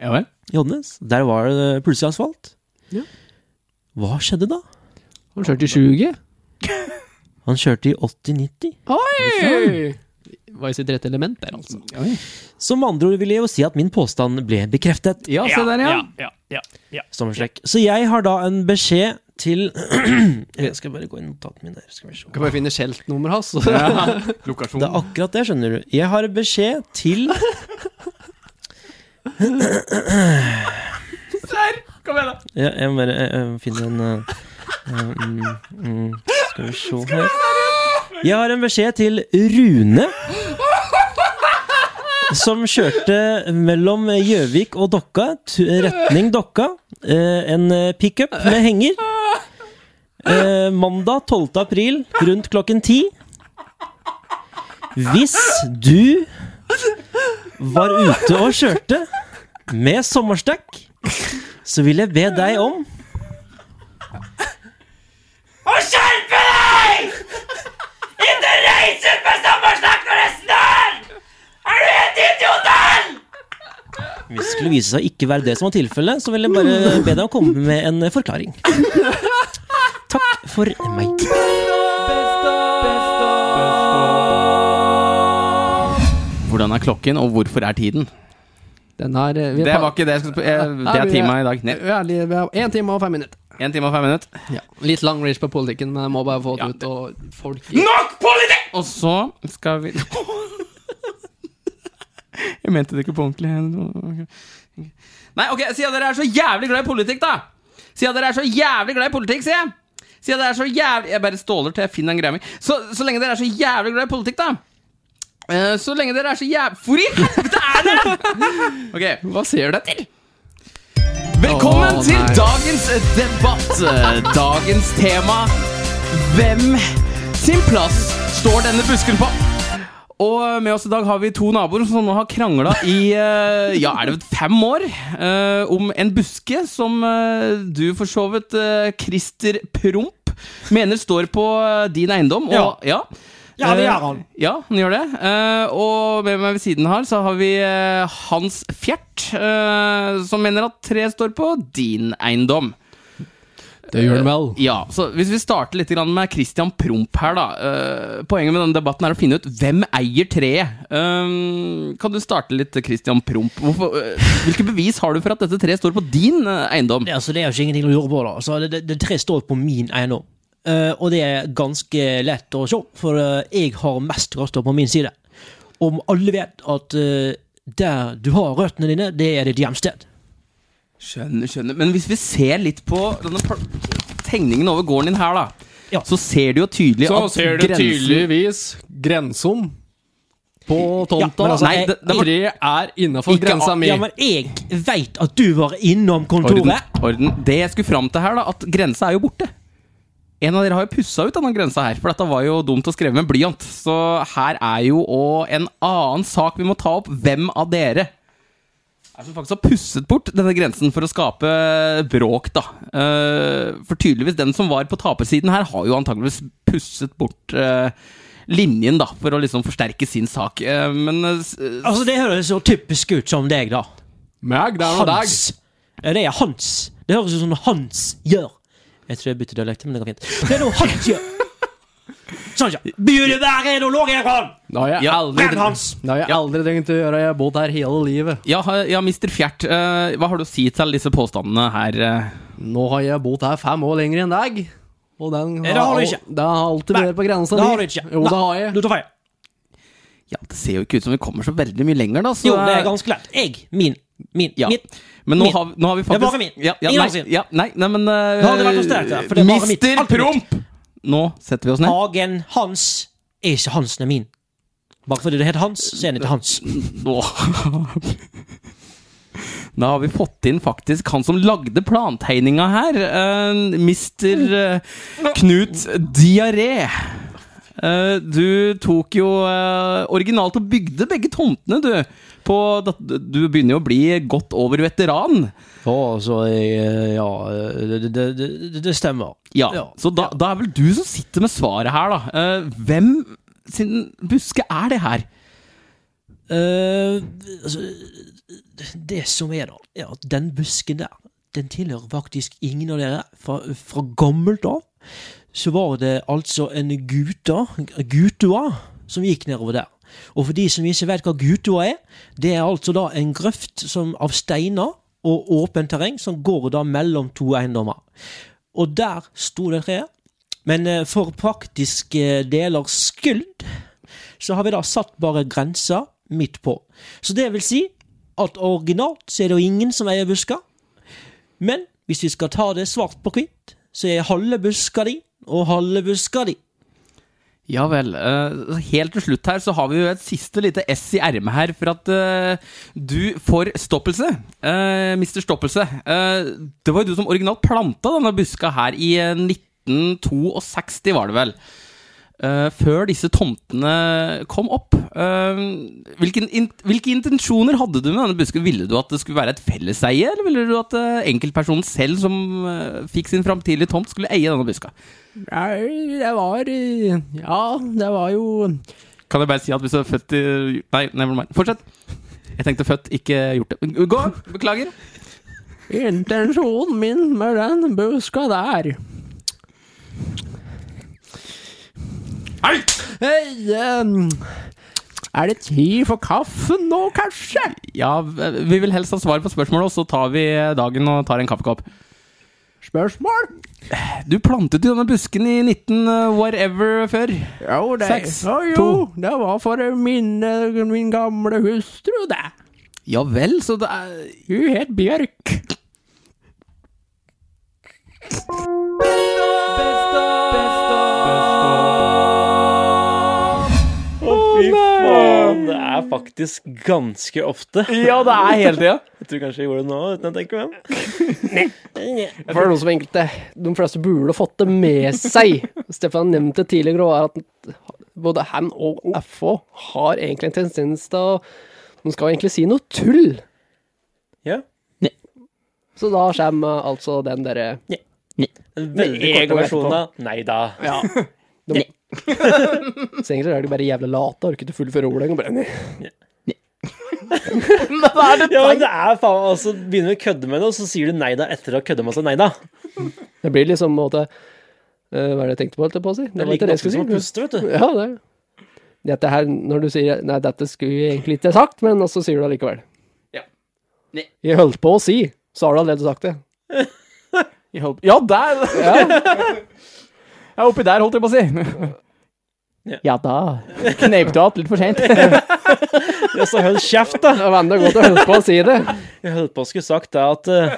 [SPEAKER 2] Ja vel.
[SPEAKER 1] i Odnes. Der var det eh, plutselig asfalt.
[SPEAKER 3] Ja.
[SPEAKER 1] Hva skjedde da?
[SPEAKER 3] Han kjørte i sjuget.
[SPEAKER 1] Han kjørte i 80-90.
[SPEAKER 3] Oi! Var i sitt rette element der, altså.
[SPEAKER 1] Som med andre ord vil jeg jo si at min påstand ble bekreftet.
[SPEAKER 3] Ja, se der, ja.
[SPEAKER 2] ja, ja, ja.
[SPEAKER 1] Sommerstek. Så jeg har da en beskjed til Jeg skal bare gå inn i notatene mine. der, Skal vi se.
[SPEAKER 3] Kan bare finne altså. skjeltnummeret hans.
[SPEAKER 2] Lokasjon.
[SPEAKER 1] Det er akkurat det, skjønner du. Jeg har en beskjed til
[SPEAKER 2] Der! Kom igjen, da!
[SPEAKER 1] Ja, jeg må bare eh, eh, finne en eh, eh, mm, mm, Skal vi se her Jeg har en beskjed til Rune. Som kjørte mellom Gjøvik og Dokka, tu- retning Dokka. Eh, en eh, pickup med henger. Eh, mandag 12. april rundt klokken 10. Hvis du var ute og kjørte med sommerstekk så vil jeg be deg om
[SPEAKER 5] Å skjerpe deg! Ikke reis ut med sommersnakk når det snør! Er du helt idiot, Erl?
[SPEAKER 1] Hvis det skulle vise seg å ikke være det som var tilfellet, så vil jeg bare be deg om å komme med en forklaring. Takk for meg.
[SPEAKER 2] Hvordan er klokken, og hvorfor er tiden?
[SPEAKER 3] Den her, eh, vi er
[SPEAKER 2] Det
[SPEAKER 3] pa-
[SPEAKER 2] var ikke det jeg skulle spørre eh,
[SPEAKER 3] Nei,
[SPEAKER 2] Det er
[SPEAKER 3] vi
[SPEAKER 2] tima i dag. Nei,
[SPEAKER 3] Vi er li- vi er Én time og fem minutter.
[SPEAKER 2] En time og fem minutter.
[SPEAKER 3] Litt lang reach på politikken, men jeg må bare få det
[SPEAKER 2] Ja,
[SPEAKER 3] ut.
[SPEAKER 2] det-
[SPEAKER 3] Og folk
[SPEAKER 5] Nok politikk!
[SPEAKER 2] Og så skal vi Jeg mente det ikke på ordentlig. Nei, ok, siden dere er så jævlig glad i politikk, da! Siden dere er så jævlig glad i politikk, sier jeg! Siden dere er så jævlig Jeg bare ståler til jeg finner en greie mi. Så, så lenge dere er så jævlig glad i politikk, da! Eh, Så lenge dere er så jævlig Hvor i helvete er dere?! Ok,
[SPEAKER 3] Hva ser du etter?
[SPEAKER 2] Velkommen
[SPEAKER 3] Åh,
[SPEAKER 2] til
[SPEAKER 3] nei.
[SPEAKER 2] dagens debatt. Dagens tema Hvem sin plass står denne busken på? Og med oss i dag har vi to naboer som nå har krangla i eh, ja, er det fem år eh, om en buske som eh, du for så vidt, eh, Christer Promp, mener står på eh, din eiendom. Og, ja.
[SPEAKER 5] Ja, det gjør han.
[SPEAKER 2] Ja, han gjør det. Eh, og med meg ved siden her så har vi eh, Hans Fjert, eh, som mener at tre står på din eiendom.
[SPEAKER 3] Det gjør den vel.
[SPEAKER 2] Ja, så Hvis vi starter litt grann med Christian Promp her, da. Eh, poenget med denne debatten er å finne ut hvem eier treet. Eh, kan du starte litt, Christian Promp? Hvorfor, eh, hvilke bevis har du for at dette treet står på din eh, eiendom?
[SPEAKER 1] Ja, så det er jo ikke ingenting å lure på, da. Så det, det, det tre står på min eiendom. Eh, og det er ganske lett å se, for eh, jeg har mest røster på min side. Om alle vet at eh, der du har røttene dine, det er ditt hjemsted.
[SPEAKER 2] Skjønner, skjønner. Men hvis vi ser litt på denne pl- tegningen over gården din her, da.
[SPEAKER 1] Ja.
[SPEAKER 2] Så ser du jo tydelig
[SPEAKER 3] Så
[SPEAKER 2] at
[SPEAKER 3] ser du
[SPEAKER 2] grensen
[SPEAKER 3] tydeligvis grensom på tomta.
[SPEAKER 1] men altså,
[SPEAKER 3] Nei, det, det var... Tre er innafor
[SPEAKER 1] Ikke
[SPEAKER 3] grensa
[SPEAKER 1] at-
[SPEAKER 3] mi.
[SPEAKER 1] Ja, men jeg veit at du var innom
[SPEAKER 2] Orden,
[SPEAKER 1] kontoret.
[SPEAKER 2] orden. Det jeg skulle fram til her, da, at grensa er jo borte. En av dere har jo pussa ut denne grensa her, for dette var jo dumt å skrive med blyant. Så her er jo òg en annen sak vi må ta opp. Hvem av dere er det som faktisk har pusset bort denne grensen for å skape bråk, da? Eh, For tydeligvis den som var på tapersiden her, har jo antakeligvis pusset bort eh, linjen, da, for å liksom forsterke sin sak. Eh, Men eh, s-
[SPEAKER 1] Altså, det høres så typisk ut som deg, da.
[SPEAKER 3] Meg, det er noe deg.
[SPEAKER 1] Hans. Ja, det er Hans. Det høres ut som noe Hans gjør. Jeg tror jeg bytter dialekt, men det går fint. Det er noe Hans gjør. Sånn, ja. Burde være en olog herfra!
[SPEAKER 3] Det har jeg
[SPEAKER 2] Ja,
[SPEAKER 3] aldri,
[SPEAKER 1] Hvem Hans?
[SPEAKER 3] det har jeg
[SPEAKER 2] Ja.
[SPEAKER 3] aldri tenkt å gjøre. Jeg har bodd her hele livet.
[SPEAKER 2] Ja, ha- ja Mr. Fjert, eh, hva har du å si til disse påstandene her? eh?
[SPEAKER 3] Nå har jeg bodd her fem år lenger enn deg. Og den
[SPEAKER 1] Eh, det har du
[SPEAKER 3] al-
[SPEAKER 1] ikke.
[SPEAKER 3] Den har alltid
[SPEAKER 1] Nei,
[SPEAKER 3] vært på grensa
[SPEAKER 1] det
[SPEAKER 3] di.
[SPEAKER 1] har du ikke.
[SPEAKER 3] Jo,
[SPEAKER 1] Nei.
[SPEAKER 3] det har jeg.
[SPEAKER 1] Du tar feil.
[SPEAKER 2] Ja, Det ser jo ikke ut som vi kommer så veldig mye lenger, da. Så,
[SPEAKER 1] Jo, det er ganske lett. Jeg, min, min,
[SPEAKER 2] Ja.
[SPEAKER 1] mitt.
[SPEAKER 2] Men nå
[SPEAKER 1] Min.
[SPEAKER 2] har, vi- nå har vi
[SPEAKER 1] er
[SPEAKER 2] faktisk
[SPEAKER 1] bare min.
[SPEAKER 2] Ja, ja,
[SPEAKER 1] Ingen
[SPEAKER 2] nei,
[SPEAKER 1] andre sin.
[SPEAKER 2] ja, nei, nei, men eh,
[SPEAKER 1] Da hadde det vært for sterkt, ja, for det er bare mitt.
[SPEAKER 2] Mister
[SPEAKER 1] Alt er mitt.
[SPEAKER 2] Promp! Nå setter vi oss ned.
[SPEAKER 1] Hagen Hans er ikke Hansen er min. Bare fordi det heter Hans, så er den ikke Hans.
[SPEAKER 2] Nå. Da har vi fått inn faktisk han som lagde plantegninga her. eh, Mister eh, Knut Diaré. Eh, du tok jo eh, originalt og bygde begge tomtene, du. På, dat- du begynner jo å bli godt over veteran.
[SPEAKER 1] Ja, altså, jeg, ja eh, det, det, det, det stemmer.
[SPEAKER 2] Ja, Så da, da er vel du som sitter med svaret her, da. Eh, hvem sin buske er det her?
[SPEAKER 1] Eh, altså, det som er da, er at den busken der, den tilhører faktisk ingen av dere. Fra, fra gammelt av så var det altså en guta, gutua, som gikk nedover der. Og for de som ikke vet hva gutua er, det er altså da en grøft som, av steiner og åpent terreng som går da mellom to eiendommer. Og der sto det treet. Men eh, for praktiske deler skyld så har vi da satt bare grensa midt på. Så det vil si at originalt så er det jo ingen som eier busker. Men hvis vi skal ta det svart på hvitt, så er halve buska di og halve buska di.
[SPEAKER 2] Ja vel. eh, helt til slutt her så har vi jo et siste lite S i ermet her for at eh, du får stoppelse. Uh, Mister Stoppelse. eh, det var jo du som originalt planta denne buska her i eh, 1962, var det vel? Eh, før disse tomtene kom opp. Eh, hvilken in hvilke intensjoner hadde du med denne busken? Ville du at det skulle være et felleseie, eller ville du at eh, enkeltpersonen selv som eh, fikk sin framtidige tomt, skulle eie denne buska?
[SPEAKER 3] Nei, det var eh, Ja, det var jo
[SPEAKER 2] Kan jeg bare si at hvis du er født i Nei, never mind. Fortsett. Jeg tenkte født, ikke gjort det. Gå! Beklager.
[SPEAKER 3] Intensjonen min med den buska der Hei! em, er det tid for kaffen nå, kanskje?
[SPEAKER 2] Ja, vi vil helst ha svar på spørsmålet, og så tar vi dagen og tar en kaffekopp.
[SPEAKER 3] Spørsmål?
[SPEAKER 2] Du plantet jo denne busken i 19 whatever før.
[SPEAKER 3] Jo, det,
[SPEAKER 2] Seks,
[SPEAKER 3] Å, jo, det var for å minne min gamle hustru, det.
[SPEAKER 2] Ja vel, så det er
[SPEAKER 3] Hun het Bjørk.
[SPEAKER 6] faen, det er faktisk ganske ofte.
[SPEAKER 2] Ja, det er hele tida.
[SPEAKER 6] Jeg tror kanskje jeg gjorde det nå, uten å tenke meg om.
[SPEAKER 3] For noe som enkelte, De fleste burde fått det med seg. Stefan nevnte tidligere også, at både han og FH har egentlig en tendens til å De skal egentlig si noe tull.
[SPEAKER 6] Ja.
[SPEAKER 3] Så da kommer altså den derre
[SPEAKER 6] Den
[SPEAKER 3] Med
[SPEAKER 6] veldig
[SPEAKER 3] ego
[SPEAKER 6] korte E versjonen av Nei da.
[SPEAKER 3] Ja. De, så egentlig er de bare jævla late, orker ikke å fullføre ordet engang. bare, nei.
[SPEAKER 6] Ja, men det er faen altså Begynner vi å kødde med det, og så sier du nei da etter å ha kødda med seg nei da.
[SPEAKER 3] Det blir liksom på en måte eh, Hva er det jeg tenkte på, holdt jeg på å si?
[SPEAKER 6] Det
[SPEAKER 3] Det
[SPEAKER 6] er
[SPEAKER 3] var
[SPEAKER 6] like
[SPEAKER 3] ikke det jeg
[SPEAKER 6] ofte som å
[SPEAKER 3] skulle si.
[SPEAKER 6] puste, vet du.
[SPEAKER 3] Ja, det. Dette her, når du sier Nei, dette skulle jeg egentlig ikke sagt, men så sier du det likevel.
[SPEAKER 2] Ja. Nei.
[SPEAKER 3] Jeg holdt på å si, så har du allerede sagt det.
[SPEAKER 7] Ja, der! Ja, oppi der, holdt jeg på å si.
[SPEAKER 6] Ja.
[SPEAKER 7] Ja da. Kneip du att litt for seint.
[SPEAKER 6] Ja, så hold kjeft, da.
[SPEAKER 3] Det er veldig godt å holde på å si det.
[SPEAKER 6] Jeg holdt på å skulle sagt det at eh,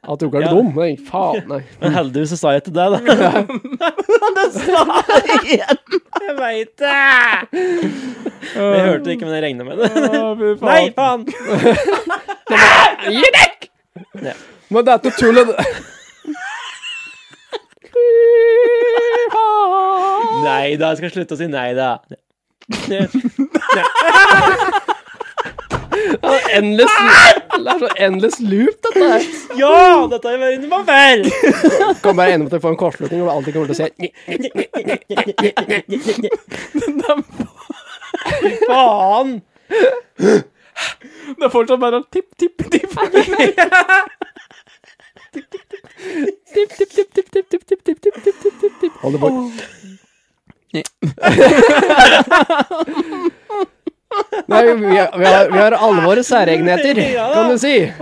[SPEAKER 3] At du ikke er
[SPEAKER 6] Ja.
[SPEAKER 3] dum. Nei, faen, nei.
[SPEAKER 6] Men heldigvis så sa jeg til deg, da. Jeg veit det! Jeg hørte det ikke, men jeg regna med det. Nei, faen!
[SPEAKER 3] Gi dekk!
[SPEAKER 6] Ja.
[SPEAKER 3] Men dette tullet
[SPEAKER 1] nei da. Jeg skal slutte å si nei da.
[SPEAKER 3] Det er endless, det er så endless loop, dette her.
[SPEAKER 1] Ja! Dette har jeg vært inne på før!
[SPEAKER 3] Kan være enig om at jeg får en kortslutning og alltid kommer til å si «Ni».
[SPEAKER 1] Faen!
[SPEAKER 4] Det er fortsatt bare tipp, tipp, tipp.
[SPEAKER 3] Hold det bort.
[SPEAKER 4] Ni.
[SPEAKER 3] Nei, vi har, vi har, vi har alle våre særegenheter, kan du si.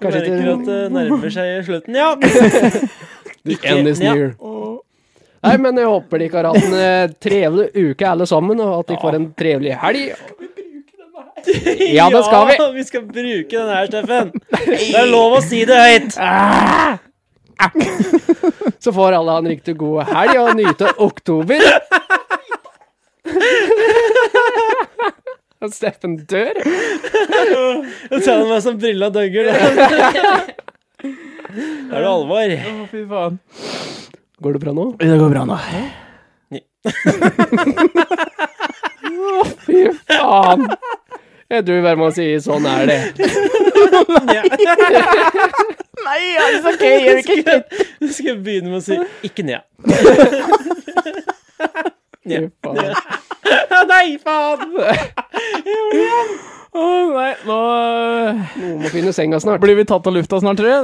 [SPEAKER 3] Kanskje
[SPEAKER 1] Merker
[SPEAKER 3] ikke
[SPEAKER 1] at det nærmer seg slutten, ja.
[SPEAKER 3] Endless
[SPEAKER 1] Ja.
[SPEAKER 3] near. Nei, men jeg håper de ikke har hatt en eh, trevelig uke, alle sammen, og at de får en trevelig helg. Ja, det skal vi.
[SPEAKER 1] Vi skal bruke den her, Steffen. Det er lov å si det høyt.
[SPEAKER 3] Så får alle ha en riktig god helg og nyte oktober. At Steffen dør.
[SPEAKER 1] Jeg tar meg som brilla døgger. Da Da er det alvor.
[SPEAKER 2] Fy faen.
[SPEAKER 3] Går det bra nå?
[SPEAKER 2] Det går bra nå.
[SPEAKER 3] Fy faen. Jeg tror bare man sier 'sånn er det'.
[SPEAKER 1] Du skal begynne med å si 'ikke ned'.
[SPEAKER 3] Fy faen.
[SPEAKER 1] Nei, faen!
[SPEAKER 2] Å nei, nå øh,
[SPEAKER 3] Noen må finne senga snart.
[SPEAKER 2] blir vi tatt av lufta snart, tror jeg.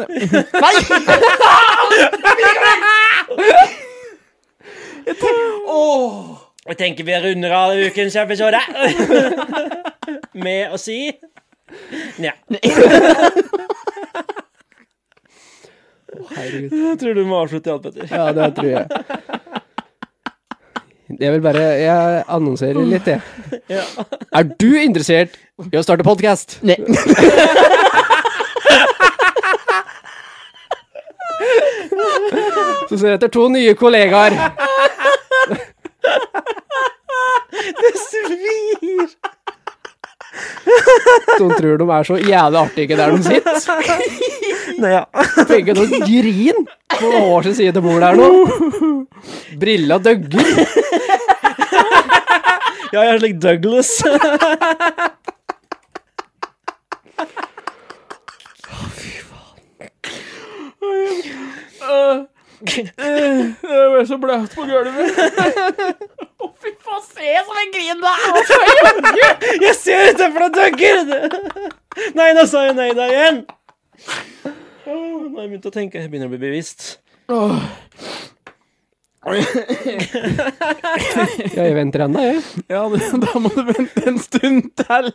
[SPEAKER 1] Jeg tenker vi runder av ukens episode med å si Nja.
[SPEAKER 3] Herregud.
[SPEAKER 1] Jeg tror du må avslutte alt, Petter.
[SPEAKER 3] Ja, det tror jeg. Jeg vil bare Jeg annonserer litt, jeg.
[SPEAKER 1] Ja.
[SPEAKER 3] Er du interessert i å starte podkast?
[SPEAKER 2] Nei.
[SPEAKER 3] Så ser jeg etter to nye kollegaer.
[SPEAKER 1] Svir!
[SPEAKER 3] De tror de er så jævlig artige der de sitter.
[SPEAKER 1] Nei, ja.
[SPEAKER 3] Tenker noe grin på hver sin side av bordet her nå. Brilla døgger.
[SPEAKER 1] ja, jeg er slik Douglas.
[SPEAKER 2] Jeg er så bløt på gulvet.
[SPEAKER 1] Jeg ser utenfor deg døgger! Nei, nå sa jeg nei da igjen. Åh, Nå har jeg begynt å tenke. Jeg begynner å bli bevisst.
[SPEAKER 3] Ja, jeg venter ennå, jeg.
[SPEAKER 2] Ja, det, da må du vente en stund til.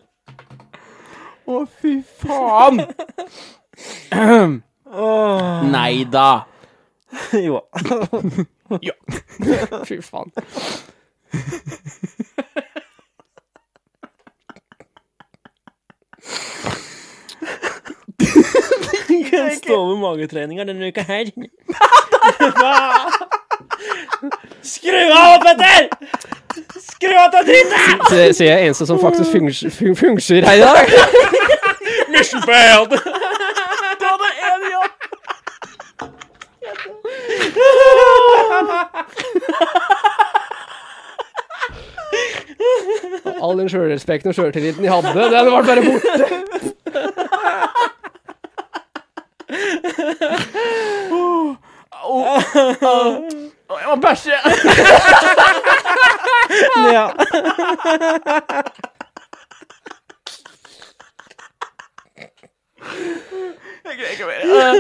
[SPEAKER 2] Å, fy faen! Nei da.
[SPEAKER 1] Jo.
[SPEAKER 3] Fy faen.
[SPEAKER 1] Kan stå med magetreninger denne uka her. Skru av, Petter! Skru av til drittet!
[SPEAKER 3] Så ser jeg eneste som faktisk fungs- fun- fungerer her i dag.
[SPEAKER 1] Mission failed!
[SPEAKER 3] All den sjølrespekten og sjøltilliten de hadde, den ble bare borte.
[SPEAKER 2] Jeg må bæsje.
[SPEAKER 1] Ja.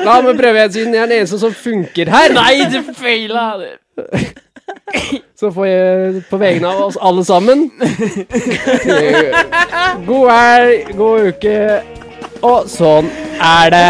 [SPEAKER 3] La meg prøve igjen, siden jeg er den eneste som funker her.
[SPEAKER 2] Nei, du feila.
[SPEAKER 3] Så får jeg på vegne av oss alle sammen God helg, god uke, og sånn er det.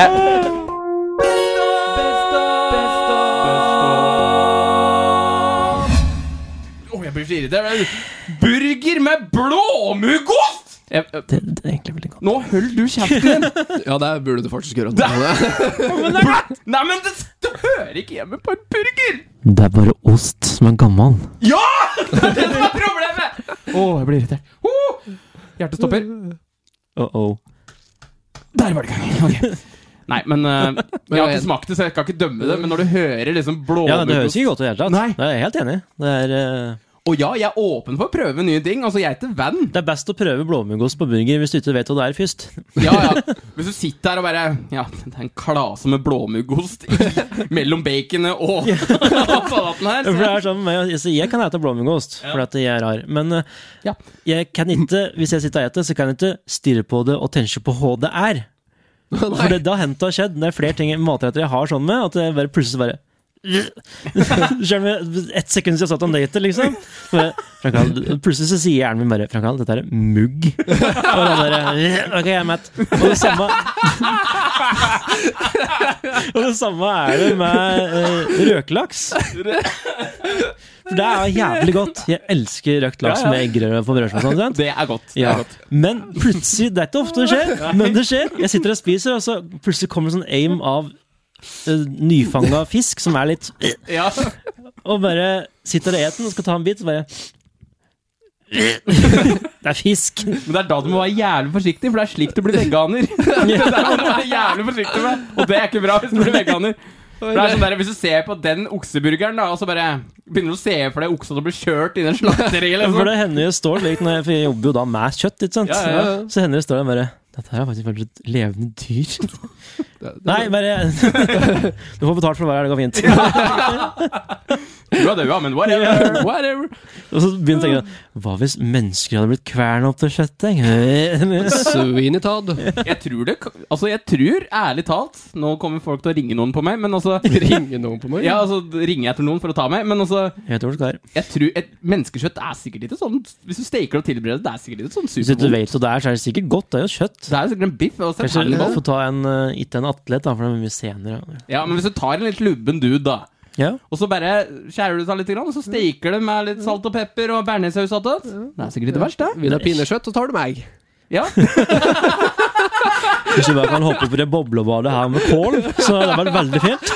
[SPEAKER 4] Åh, jeg blir så irritert. Burger med blåmuggost! Jeg- jeg-
[SPEAKER 8] Det, det er egentlig veldig godt.
[SPEAKER 4] Nå holder du kjeften din!
[SPEAKER 9] Ja, det burde du faktisk gjøre. Det.
[SPEAKER 4] Nei, men det, det hører ikke hjemme på en burger!
[SPEAKER 8] Det er bare ost som er gammel.
[SPEAKER 4] Ja! Det er det som er problemet! Åh, jeg blir irritert. Oh! Hjertet stopper.
[SPEAKER 1] Uh -oh.
[SPEAKER 4] Der var det i gang. Ok.
[SPEAKER 2] Nei, men eh, jeg har ikke smakt det, så jeg kan ikke dømme det. Men når du hører liksom
[SPEAKER 1] Ja, Det
[SPEAKER 2] blåmuggost
[SPEAKER 1] høres ikke godt ut i det hele tatt.
[SPEAKER 2] Nei.
[SPEAKER 1] Nei, Jeg er helt enig. Det er, eh,
[SPEAKER 2] Og ja, jeg er åpen for å prøve nye ting. Altså, jeg heter Van.
[SPEAKER 1] det er best å prøve blåmuggost på burger hvis du ikke vet hva det er først.
[SPEAKER 2] Ja, ja. Hvis du sitter her og bare Ja, det er en klase med blåmuggost i- mellom baconet og og salaten her.
[SPEAKER 1] For det
[SPEAKER 2] Så.
[SPEAKER 1] er sånn, med meg, altså, Jeg kan ete blåmuggost, for at jeg er rar. Men eh,
[SPEAKER 4] Ja.
[SPEAKER 1] jeg kan ikke, hvis jeg sitter og eter, så kan jeg ikke stirre på det og tenke på hva det er. For det, det har hendt det har skjedd. Det er flere ting matretter jeg har sånn med, at jeg bare plutselig bare Selv om jeg- ett sekund siden jeg satt og date, liksom. Så Bare, Frank Harald, plutselig så sier hjernen min bare Frank Harald, dette er mugg. Og han bare Ok, jeg er mett. Og det samme Og det samme er det med eh, røkelaks. For det er jævlig godt. Jeg elsker røkt laks med eggerøre på brødskiva. Sånn, sant?
[SPEAKER 2] Det er godt. Det
[SPEAKER 1] Ja.
[SPEAKER 2] er godt.
[SPEAKER 1] Men plutselig Det er ikke ofte det skjer, men det skjer. Jeg sitter og spiser, og så plutselig kommer sånn aim av uh, nyfanga fisk som er litt
[SPEAKER 2] Ja.
[SPEAKER 1] Og bare sitter og eter den og skal ta en bit, så bare Det er fisk.
[SPEAKER 2] Men det er da du må være jævlig forsiktig, for det er slik du blir veganer. Det er det du må være jævlig forsiktig med, Og det er ikke bra hvis du blir veganer. For det er sånn der, Hvis du ser på den okseburgeren, da, og så bare begynner du å se for deg oksa som blir kjørt i den slakteriet.
[SPEAKER 1] For
[SPEAKER 2] Liksom.
[SPEAKER 1] det hender jeg står slik, når jeg, for jeg jobber jo da med kjøtt, ikke sant.
[SPEAKER 2] Ja, ja, ja.
[SPEAKER 1] Så hender jeg står der og bare Dette her er faktisk faktisk et levende dyr. Nei, bare Du får betalt for å være her, det går fint.
[SPEAKER 2] Du er død, ja, men whatever. whatever.
[SPEAKER 1] Og så begynte jeg å tenke Hva hvis mennesker hadde blitt kverna opp til kjøttet?
[SPEAKER 3] Svinetad.
[SPEAKER 2] Jeg tror det k- Altså, jeg tror, ærlig talt Nå kommer folk til å ringe noen på meg, men altså
[SPEAKER 3] Ringer noen på meg?
[SPEAKER 2] ja, altså, ringer jeg til noen for å ta meg, men altså
[SPEAKER 1] Jeg tror det skal være
[SPEAKER 2] jeg tror, et Menneskekjøtt er sikkert ikke sånn Hvis du steker det og tilbereder det, det er sikkert ikke sånn
[SPEAKER 1] Hvis du ikke
[SPEAKER 2] supergodt.
[SPEAKER 1] vet hva det er, så er det sikkert godt. Det er jo kjøtt.
[SPEAKER 2] Det er jo sikkert en biff. Og så er det
[SPEAKER 1] Kanskje du
[SPEAKER 2] hannibal.
[SPEAKER 1] får ta en eh, Ikke en atlet, da, for det er mye senere.
[SPEAKER 2] ja, men hvis du tar en litt lubben dude, da,
[SPEAKER 1] Ja.
[SPEAKER 2] og så bare skjærer du det av litt, grann, og så steker det med litt salt og pepper og bearnéssaus attåt Det er sikkert ikke verst, det.
[SPEAKER 3] Vil du ha pinnekjøtt, så tar du meg.
[SPEAKER 2] Ja.
[SPEAKER 1] Hvis du bare kan hoppe på det boblebadet her med kål, så hadde det vært veldig fint.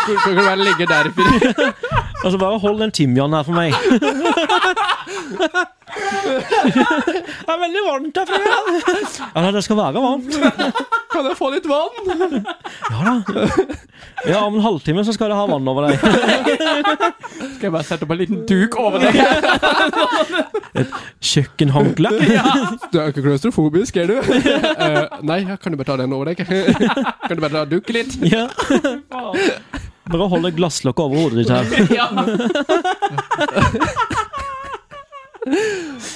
[SPEAKER 2] Kan kan du bare ligge der i fri?
[SPEAKER 1] Og så bare hold den timianen her for meg. Det er veldig varmt her fremme. Ja, det skal være varmt.
[SPEAKER 2] Kan jeg få litt vann?
[SPEAKER 1] Ja da. Ja, om en halvtime så skal det ha vann over deg.
[SPEAKER 2] Skal jeg bare sette opp en liten duk over deg?
[SPEAKER 1] Kjøkkenhåndkle.
[SPEAKER 3] Du er jo ikke klaustrofobisk, er du? Eh, nei, ja, kan du bare ta den over deg? kan du bare ta dukke litt?
[SPEAKER 1] Ja. Bare hold det glasslokket over hodet ditt her.
[SPEAKER 2] Ja.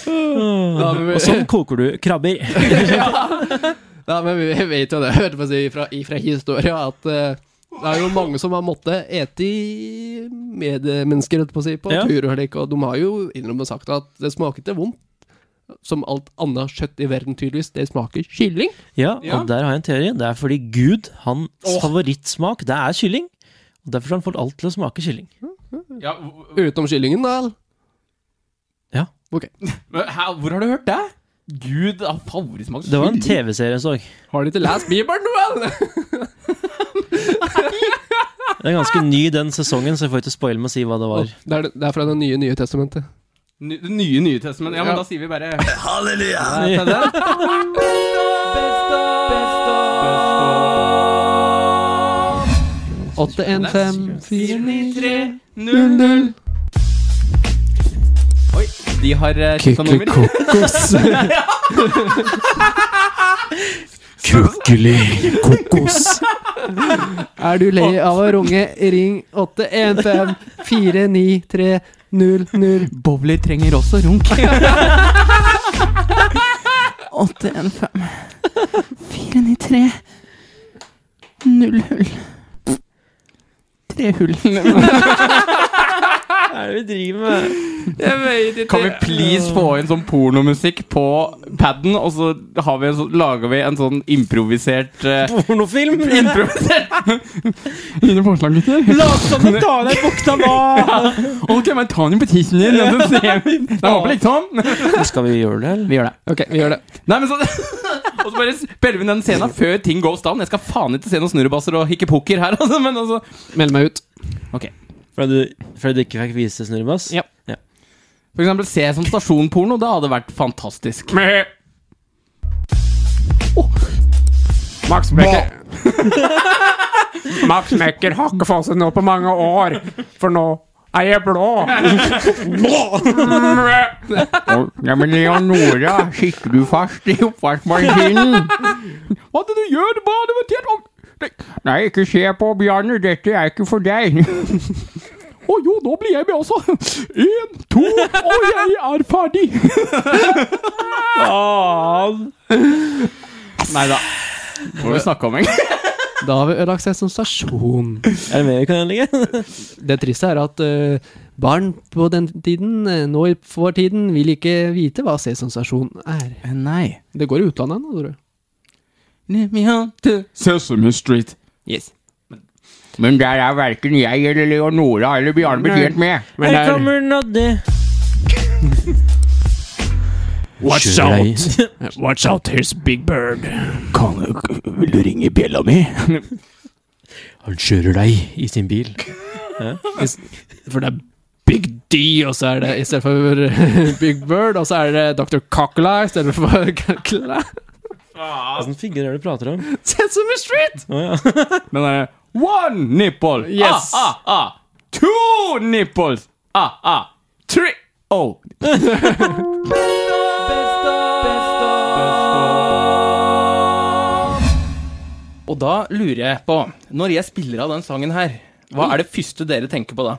[SPEAKER 3] Ja, men,
[SPEAKER 1] Og
[SPEAKER 3] vi,
[SPEAKER 1] sånn koker du krabber.
[SPEAKER 3] ja, men vi vet jo det, hørte jeg på å si, fra, fra historia, at eh, det er jo mange som har måttet ete i medmennesker, holdt jeg på å si, på
[SPEAKER 1] Ja.
[SPEAKER 3] tur og slik, og de har jo innrømmet sagt at det smaker ikke vondt. Som alt annet kjøtt i verden, tydeligvis. Det smaker kylling.
[SPEAKER 1] Ja,
[SPEAKER 2] Ja.
[SPEAKER 1] og der har jeg en teori. Det er fordi Gud, hans favorittsmak, det er kylling. Og Derfor har han fått alt til å smake kylling.
[SPEAKER 2] ja. hvor-
[SPEAKER 3] Utenom kyllingen, da.
[SPEAKER 2] men hæ, Hvor har du hørt det? Gud, av favorittsmak
[SPEAKER 1] Det var en TV-serie jeg så.
[SPEAKER 3] Har de ikke lest Bibelen, vel?
[SPEAKER 1] Det er ganske ny den sesongen, så jeg får ikke spoile med å si hva det var.
[SPEAKER 3] Det er, det er fra Det nye, nye testamentet.
[SPEAKER 2] Ny- Det nye nye testamentet. Ja, men
[SPEAKER 3] Ja.
[SPEAKER 2] da sier vi bare
[SPEAKER 1] Ja.
[SPEAKER 2] Oi, de har uh, skifta nummer.
[SPEAKER 10] Kukkeli kokos.
[SPEAKER 3] Er du lei av å runge, ring 815-493-00.
[SPEAKER 11] Bowler trenger også runk. 815 493 Null hull. Tre hull.
[SPEAKER 1] Hva er det vi driver med?
[SPEAKER 2] Kan vi please få inn sånn pornomusikk på paden, og så, har vi en sånn- lager vi en sånn improvisert eh,
[SPEAKER 1] Pornofilm!
[SPEAKER 2] Improvisert! Mine forslag, gutter.
[SPEAKER 1] Lat som du tar av deg bukta nå!
[SPEAKER 2] Ok, men ta den på tissen din, og så ser vi. Det er håpelig ikke sånn.
[SPEAKER 1] Skal vi gjøre det, eller?
[SPEAKER 2] Vi gjør det.
[SPEAKER 3] Ok, vi gjør det.
[SPEAKER 2] Nei, men så Og så bare spiller vi den scenen før ting goes down. Jeg skal faen ikke se noen snurrebasser og hikke-pokker her, altså, men altså
[SPEAKER 3] Meld meg ut.
[SPEAKER 1] Fordi du, fordi du ikke fikk vise snurrebass?
[SPEAKER 2] Ja. For eksempel se som stasjonporno. Det hadde vært fantastisk. Åh.
[SPEAKER 11] Oh. Max Becker Max Becker har ikke fått seg noe på mange år, for nå er jeg blå. Og, ja, men Leonora, sitter du fast i oppvaskmaskinen? Hva er det du gjør? Hva har du betjent? Nei, ikke se på Bjarne, dette er ikke for deg. Å jo, nå blir jeg med også. Én, to, og jeg er ferdig.
[SPEAKER 4] Nei da. Hva har vi snakka om, egentlig?
[SPEAKER 12] Da har vi ødelagt seg som stasjon.
[SPEAKER 1] Er det mer vi kan legge?
[SPEAKER 12] Det triste er at eh, barn på den tiden, eh, nå i vår tiden, vil ikke vite hva Sesam stasjon er.
[SPEAKER 2] Eh,
[SPEAKER 4] Nei.
[SPEAKER 12] Det går i utlandet nå, tror du.
[SPEAKER 11] Sesame Street.
[SPEAKER 4] Yes.
[SPEAKER 11] Men der er verken jeg eller Leonora eller Bjarne betjent med. Men
[SPEAKER 1] Her
[SPEAKER 11] der,
[SPEAKER 1] kommer Noddy.
[SPEAKER 13] Watch out!
[SPEAKER 11] Watch out, here's Big Bird. Kan, vil du ringe bjella mi?
[SPEAKER 13] Han kjører deg i sin bil.
[SPEAKER 12] For det er Big D, og så er det i stedet for eh, Big Bird, og så er det Dr. Cockla i stedet for Kakla.
[SPEAKER 1] Åssen figur er det du prater om?
[SPEAKER 12] Sesame Street!
[SPEAKER 1] Å ja.
[SPEAKER 4] Men det er one nipple.
[SPEAKER 12] Yes.
[SPEAKER 4] Ah, ah, ah. Two nipples. Ah, ah. Three. Oh. Og da lurer jeg på, når jeg spiller av den sangen her, hva er det første dere tenker på da?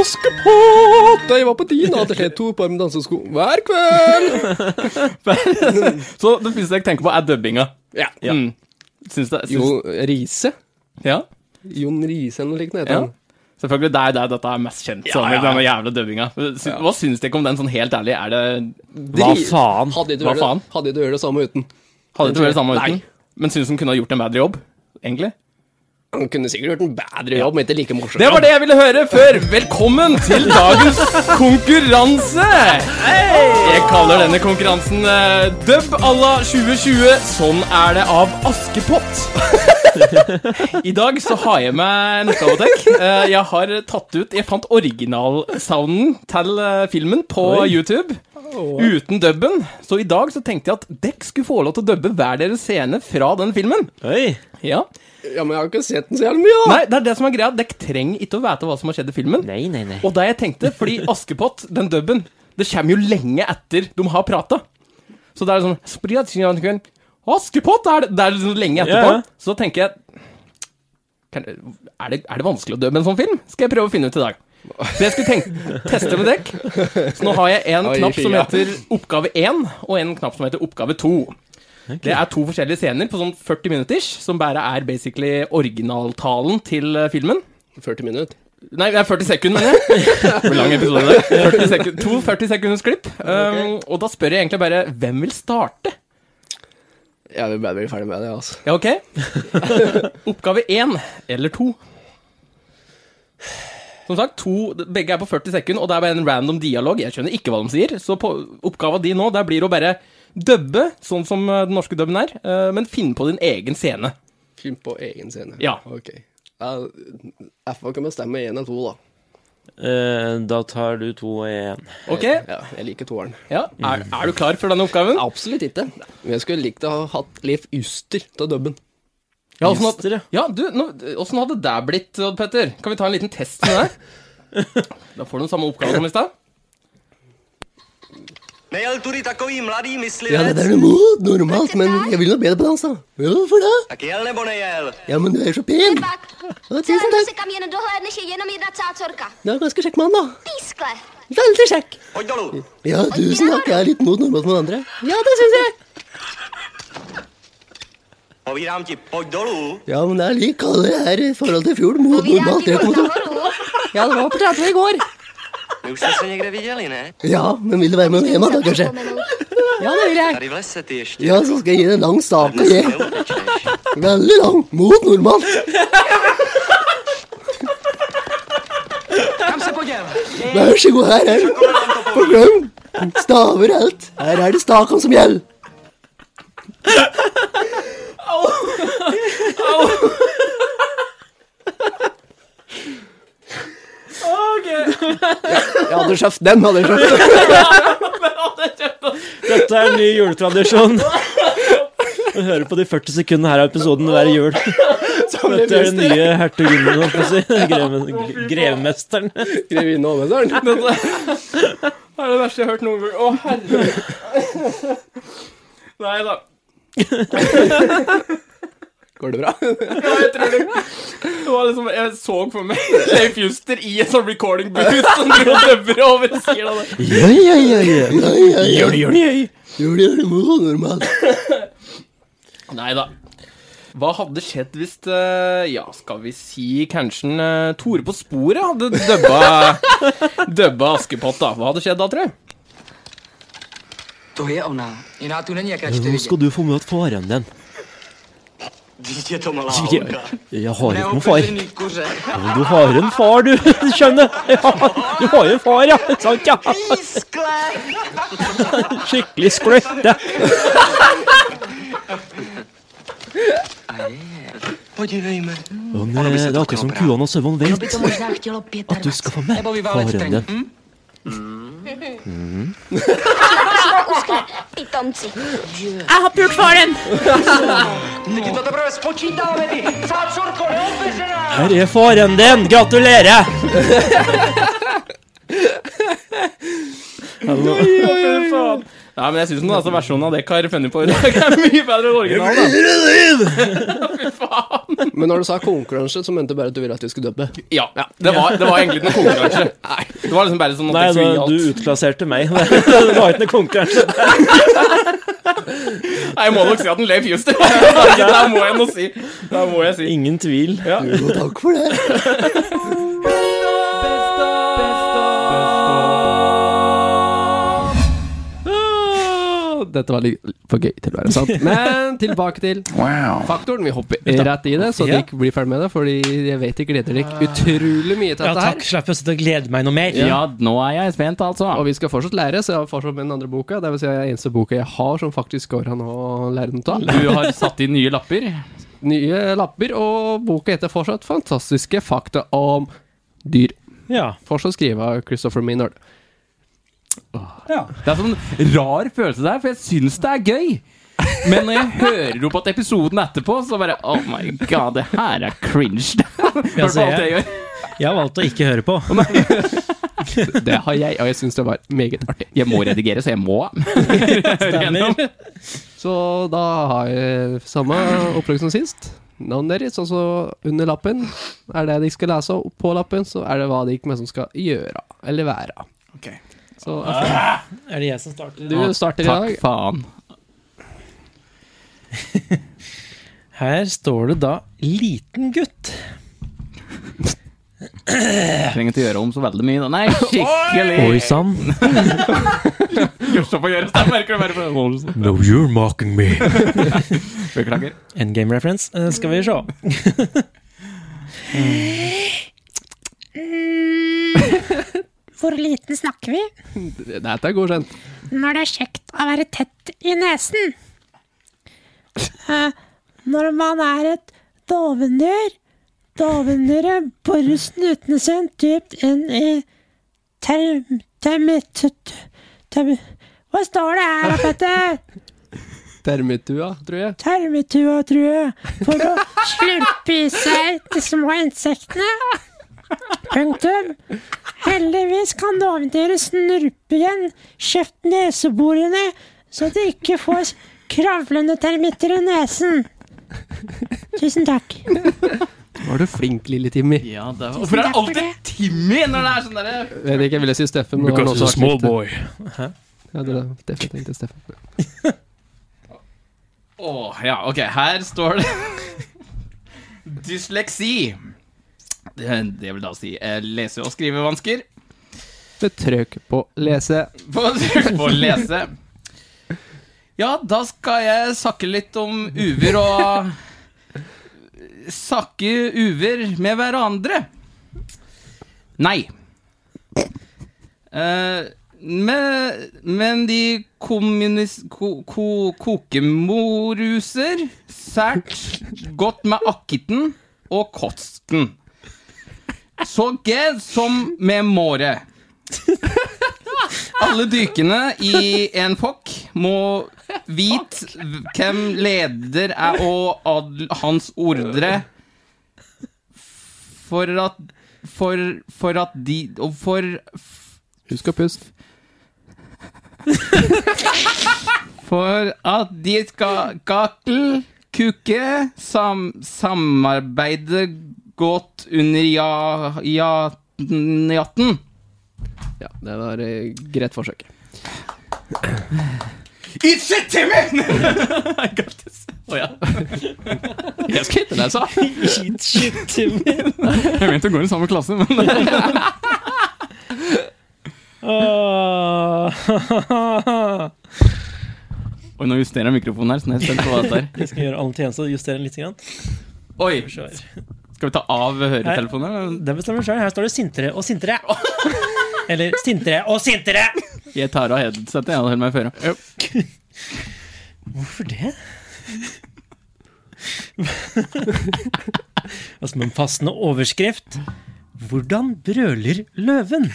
[SPEAKER 3] Askepott! Da jeg var på din, hadde jeg to på armen dansesko hver kveld.
[SPEAKER 4] Så det første jeg tenker på er dubbinga.
[SPEAKER 3] Ja.
[SPEAKER 4] Mm. Syns det, syns,
[SPEAKER 3] Jo, Riise?
[SPEAKER 4] Ja,
[SPEAKER 3] Jon Riise eller noe slikt heter
[SPEAKER 4] ja.
[SPEAKER 3] han.
[SPEAKER 4] Selvfølgelig, det er der dette er mest kjent som, denne jævla dubbinga. Sy- Hva syns dere om den, sånn helt ærlig? Er det
[SPEAKER 3] Hva
[SPEAKER 4] faen?
[SPEAKER 3] Hadde ikke
[SPEAKER 4] Hva
[SPEAKER 3] vært-
[SPEAKER 4] faen?
[SPEAKER 3] Hadde ikke vært det samme uten.
[SPEAKER 4] Hadde ikke vært det samme uten? Men syns hun kunne ha gjort en bedre jobb, egentlig?
[SPEAKER 3] Han kunne sikkert gjort en bedre jobb, men ikke like morsom.
[SPEAKER 4] Det var det jeg ville høre før. Velkommen til dagens konkurranse. Jeg kaller denne konkurransen eh, Dubb à la 2020. Sånn er det av Askepott. I dag så har jeg med en oppgavetek. Eh, Jeg har tatt ut Jeg fant originalsounden til eh, filmen på YouTube. Uten dubben. Så i dag så tenkte jeg at dere skulle få lov til å dubbe hver deres scene fra den filmen.
[SPEAKER 1] Oi.
[SPEAKER 4] Ja
[SPEAKER 3] Ja, men jeg har ikke sett den så jævlig mye, da.
[SPEAKER 4] Nei, det er det som er greia. Dere trenger ikke å vite hva som har skjedd i filmen.
[SPEAKER 1] Nei, nei, nei.
[SPEAKER 4] Og det jeg tenkte, fordi Askepott, den dubben, det kommer jo lenge etter de har prata. Så det er sånn «Sprit, signal, kun». Askepott er det! Det er liksom lenge etterpå.
[SPEAKER 1] Ja, ja.
[SPEAKER 4] Så tenker jeg kan, er, det, er det vanskelig å dubbe en sånn film? Skal jeg prøve å finne ut i dag. Så jeg skulle tenke, teste med dekk. Så nå har jeg en
[SPEAKER 3] Oi,
[SPEAKER 4] knapp som
[SPEAKER 3] fia.
[SPEAKER 4] heter oppgave 1, og en knapp som heter oppgave 2. Det er to forskjellige scener på sånn 40 minutters, som bare er basically originaltalen til eh, filmen.
[SPEAKER 3] 40 minutter.
[SPEAKER 4] Nei, det er 40 sekunder, mener jeg. Hvor lang episode er det? 40 sekunder, to 40 sekunders klipp. Um, og da spør jeg egentlig bare hvem vil starte?
[SPEAKER 3] Jeg vil bare bli ferdig med det, altså.
[SPEAKER 4] Ja, ok? Oppgave én eller to? Som sagt, to, begge er på 40 sekunder, og det er bare en random dialog. Jeg skjønner ikke hva de sier. Så på oppgava di nå der blir å bare dubbe, sånn som eh, den norske dubben er, eh, men finne på din egen scene.
[SPEAKER 3] Film på egen scene.
[SPEAKER 4] Ja.
[SPEAKER 3] Ok. Ja, FA kan bestemme én eller to, da.
[SPEAKER 1] Eh, da tar du to og én.
[SPEAKER 4] Ok?
[SPEAKER 3] Ja, jeg liker toeren.
[SPEAKER 4] Ja. Er, er du klar for denne oppgaven?
[SPEAKER 3] Absolutt ikke. Men jeg skulle likt å ha hatt Leif Juster til dubben.
[SPEAKER 4] Ja, altså, åssen hadde,
[SPEAKER 1] Juster, ja.
[SPEAKER 4] ja, du, nå- åssen hadde det blitt, Odd Petter? Kan vi ta en liten test med deg? Da får du den samme oppgaven som i stad.
[SPEAKER 14] Nejel tudy takový mladý myslivec.
[SPEAKER 3] Ja, det er noe normalt, men jeg vil noe bedre på dans, da. Ja, Hvorfor det?
[SPEAKER 14] Tak jel nebo nejel?
[SPEAKER 3] Ja, men du er så pen.
[SPEAKER 15] Tak,
[SPEAKER 3] Ja,
[SPEAKER 15] celá
[SPEAKER 3] tusen takk.
[SPEAKER 15] se kam jen dohlédneš je jenom jedna cácorka.
[SPEAKER 3] Du er en ganske kjekk mann, da.
[SPEAKER 15] Pískle.
[SPEAKER 3] Veldig kjekk.
[SPEAKER 14] Pojď dolů.
[SPEAKER 3] Ja, tusen takk. Jeg er litt mot normalt med andre. Ja, det syns jeg.
[SPEAKER 14] Povídám ti, pojď dolů.
[SPEAKER 3] Ja, men det er like kaldt det her i forhold til i fjor. Mot
[SPEAKER 15] Povídám
[SPEAKER 3] normalt
[SPEAKER 15] ti
[SPEAKER 3] rett
[SPEAKER 15] moc
[SPEAKER 3] mot
[SPEAKER 15] nahoru.
[SPEAKER 3] Ja, det var på 30 i går.
[SPEAKER 14] My už jsme se někde viděli, ne?
[SPEAKER 3] Ja, men vil du være med meg hjem, da, kanskje? Ja, det vil jeg.
[SPEAKER 14] Tady v lese ty ještě.
[SPEAKER 3] Ja, så skal jeg gi deg en lang stake.
[SPEAKER 14] Dnes
[SPEAKER 3] jeg.
[SPEAKER 14] neutečeš.
[SPEAKER 3] Veldig lang. Mot normalt.
[SPEAKER 14] Kam se poděl?
[SPEAKER 3] Vær så god, her er den.
[SPEAKER 14] Kolem to poví.
[SPEAKER 3] Glem staver alt. Her er det stakan som gjelder.
[SPEAKER 4] Ok,
[SPEAKER 3] Jeg hadde skjøft den, hadde jeg skjøft.
[SPEAKER 4] men
[SPEAKER 1] Dette er en ny juletradisjon. Du hører på de 40 sekundene her av episoden hver jul. Dette er den nye hertuginnen, holdt jeg på å si. Greve- gre- Grevemesteren.
[SPEAKER 16] Grevinne og
[SPEAKER 1] hovmesteren.
[SPEAKER 2] Det er det verste jeg har hørt noen gang. Å, herregud. Nei da.
[SPEAKER 4] Går det bra?
[SPEAKER 2] Ja, jeg tror det. det var liksom, jeg så for meg Leif Juster i en sånn recording booth som dro dubber over og sier det.
[SPEAKER 17] Ja, ja, ja, ja. ja, ja, ja.
[SPEAKER 2] Gjør det, gjør det.
[SPEAKER 17] Gjør det, gjør det. Må gå normalt.
[SPEAKER 2] Nei da. Hva hadde skjedd hvis eh, Ja, skal vi si kanskje en, eh, Tore på sporet hadde dubba, dubba Askepott, da? Hva hadde skjedd da, tror jeg?
[SPEAKER 14] To je ona. Jiná tu není, jak na
[SPEAKER 18] Nå skal du få møte faren din.
[SPEAKER 14] Dítě to malá
[SPEAKER 18] holka. Jeg har ikke noen far.
[SPEAKER 14] kuře.
[SPEAKER 18] Men Du har en far, du. Skjønner. Ja, du har jo en far, ja. Sant, ja.
[SPEAKER 1] Skikkelig skløtte.
[SPEAKER 14] Podívejme.
[SPEAKER 18] Og det eh, det er akkurat som kuene og sauene
[SPEAKER 14] Kdo by
[SPEAKER 18] vet
[SPEAKER 14] to možná chtělo pět
[SPEAKER 18] at du skal få med
[SPEAKER 14] Nebo vyválet
[SPEAKER 18] faren
[SPEAKER 14] ten.
[SPEAKER 18] din.
[SPEAKER 14] Hm?
[SPEAKER 18] Mm.
[SPEAKER 15] Uskle, pitomci.
[SPEAKER 14] A ho pil
[SPEAKER 15] farem.
[SPEAKER 14] Teď ti to teprve spočítáme, ty cácorko neobeřená!
[SPEAKER 1] Her er faren din. Gratulerer.
[SPEAKER 2] Oi, oi, oi, faen. Nei, men jeg syns den altså, versjonen av det Kari har funnet på i dag, er mye bedre enn originalen. da.
[SPEAKER 16] Men når du sa konkurranse, så mente du bare at du ville at vi skulle dubbe.
[SPEAKER 2] Ja. Det var, det var egentlig ikke noe konkurranse. Det var liksom bare sånn at
[SPEAKER 1] Nei,
[SPEAKER 2] jeg skulle gi
[SPEAKER 1] da,
[SPEAKER 2] alt.
[SPEAKER 1] du utklasserte meg. Det var ikke noe konkurranse.
[SPEAKER 2] Nei, jeg må nok si at den Leif Juster. Der må jeg nå si. Der må jeg si.
[SPEAKER 1] Ingen tvil.
[SPEAKER 2] Jo,
[SPEAKER 17] takk for det.
[SPEAKER 3] Ah, Dette var litt for gøy til å være sant. Men tilbake til faktoren. Vi hopper rett i det, så
[SPEAKER 19] Ja.
[SPEAKER 3] dere blir ferdig med det. Fordi jeg vet dere gleder dere utrolig mye til
[SPEAKER 19] Ja,
[SPEAKER 3] dette her.
[SPEAKER 19] takk. Slapp å sitte og glede meg noe mer.
[SPEAKER 3] Ja,
[SPEAKER 2] nå er jeg spent, altså.
[SPEAKER 3] Og vi skal fortsatt lære, så jeg har fortsatt med den andre boka. Det vil si den eneste boka jeg har som faktisk går an å lære den av.
[SPEAKER 2] Du har satt inn nye lapper.
[SPEAKER 3] nye lapper, og boka heter fortsatt 'Fantastiske fakta om dyr'.
[SPEAKER 1] Ja.
[SPEAKER 3] Fortsatt skrevet av Christopher Minard.
[SPEAKER 2] Det er sånn rar følelse der, for jeg syns det er gøy. Men når jeg hører opp at episoden etterpå, så bare Oh my god, det her er cringe.
[SPEAKER 19] Ja,
[SPEAKER 2] Hør
[SPEAKER 19] så
[SPEAKER 2] på alt jeg
[SPEAKER 19] jeg,
[SPEAKER 2] gjør.
[SPEAKER 19] jeg har valgt å ikke høre på.
[SPEAKER 3] Det har jeg, og jeg syns det var meget artig.
[SPEAKER 2] Jeg må redigere, så jeg må. Stemmer.
[SPEAKER 3] Så da har jeg samme opplegg som sist. Navnet deres, og så under lappen er det de skal lese, og på lappen så er det hva de som skal gjøre, eller være.
[SPEAKER 19] Ok.
[SPEAKER 3] Så
[SPEAKER 19] Er det jeg som starter?
[SPEAKER 3] Du starter i dag.
[SPEAKER 2] faen.
[SPEAKER 19] Her står det da 'liten gutt'.
[SPEAKER 2] Trenger ikke gjøre om så veldig mye. da. Nei, skikkelig.
[SPEAKER 19] Oi sann.
[SPEAKER 2] Gustav får gjøre det, jeg merker det bare på Olsen.
[SPEAKER 19] No, you're mocking me.
[SPEAKER 2] Beklager.
[SPEAKER 19] Endgame reference. Eh, skal vi se.
[SPEAKER 20] Hvor liten snakker vi?
[SPEAKER 3] Dette er godkjent.
[SPEAKER 20] Når det er kjekt å være tett i nesen. Eh, Når man er et dovendyr. Dovendyret borer snuten sin dypt inn i term... termitt... Term, hva står det her, Petter?
[SPEAKER 3] Termittua, tror jeg.
[SPEAKER 20] Termitua, tror jeg. For å slurpe i seg de små insektene. Punktum. Heldigvis kan dovendyret snurpe igjen kjeft-neseborene, så de ikke får kravlende termitter i nesen. Tusen takk.
[SPEAKER 3] Var du flink, lille Timmy?
[SPEAKER 2] Ja, det var... Hvorfor er det alltid Timmy når det er sånn derre
[SPEAKER 3] Vet ikke, jeg ville si Steffen. men
[SPEAKER 19] Because
[SPEAKER 3] han også
[SPEAKER 19] he's a
[SPEAKER 3] har
[SPEAKER 19] small
[SPEAKER 3] knyttet.
[SPEAKER 19] boy. Hæ?
[SPEAKER 3] Ja, det er derfor jeg tenkte Steffen.
[SPEAKER 2] Å, ja, ok, her står det Dysleksi. Det, det vil da si eh, lese- og skrivevansker.
[SPEAKER 3] Med trøkk på lese.
[SPEAKER 2] På, på lese. Ja, da skal jeg snakke litt om uver og Sakke uver med hverandre. Nei. Eh, men, men de kommunis... Ko, ko, kokemoruser sært godt med akkitten og kosten. Så g som med måre. Alle dykene i en fokk
[SPEAKER 4] må vite hvem leder er, og adl hans ordre for at For, for at de Og for
[SPEAKER 2] Husk å puste.
[SPEAKER 4] For at de skal kakle, kuke, sam, samarbeide godt under ja, ja, jatten.
[SPEAKER 2] Ja, det var eh, greit forsøk.
[SPEAKER 4] It's a timmy!
[SPEAKER 21] I got this. Å ja.
[SPEAKER 4] Jeg skal hitte deg, sa
[SPEAKER 21] Shit, shit, Timmy.
[SPEAKER 4] Jeg mente å gå i samme klasse, men Oi, nå justerer jeg mikrofonen her, så nå er jeg spent på hva dette er.
[SPEAKER 1] Vi skal gjøre alle tjenester og justere den litt. Grann.
[SPEAKER 4] Oi! Skal vi ta av høretelefonen?
[SPEAKER 1] Her- Den bestemmer seg. Her står det 'sintere og sintere'. Eller 'sintere og sintere'.
[SPEAKER 4] Jeg tar av headsetet, jeg holder meg for øra.
[SPEAKER 1] Hvorfor det? og som Altså, en passende overskrift Hvordan brøler løven?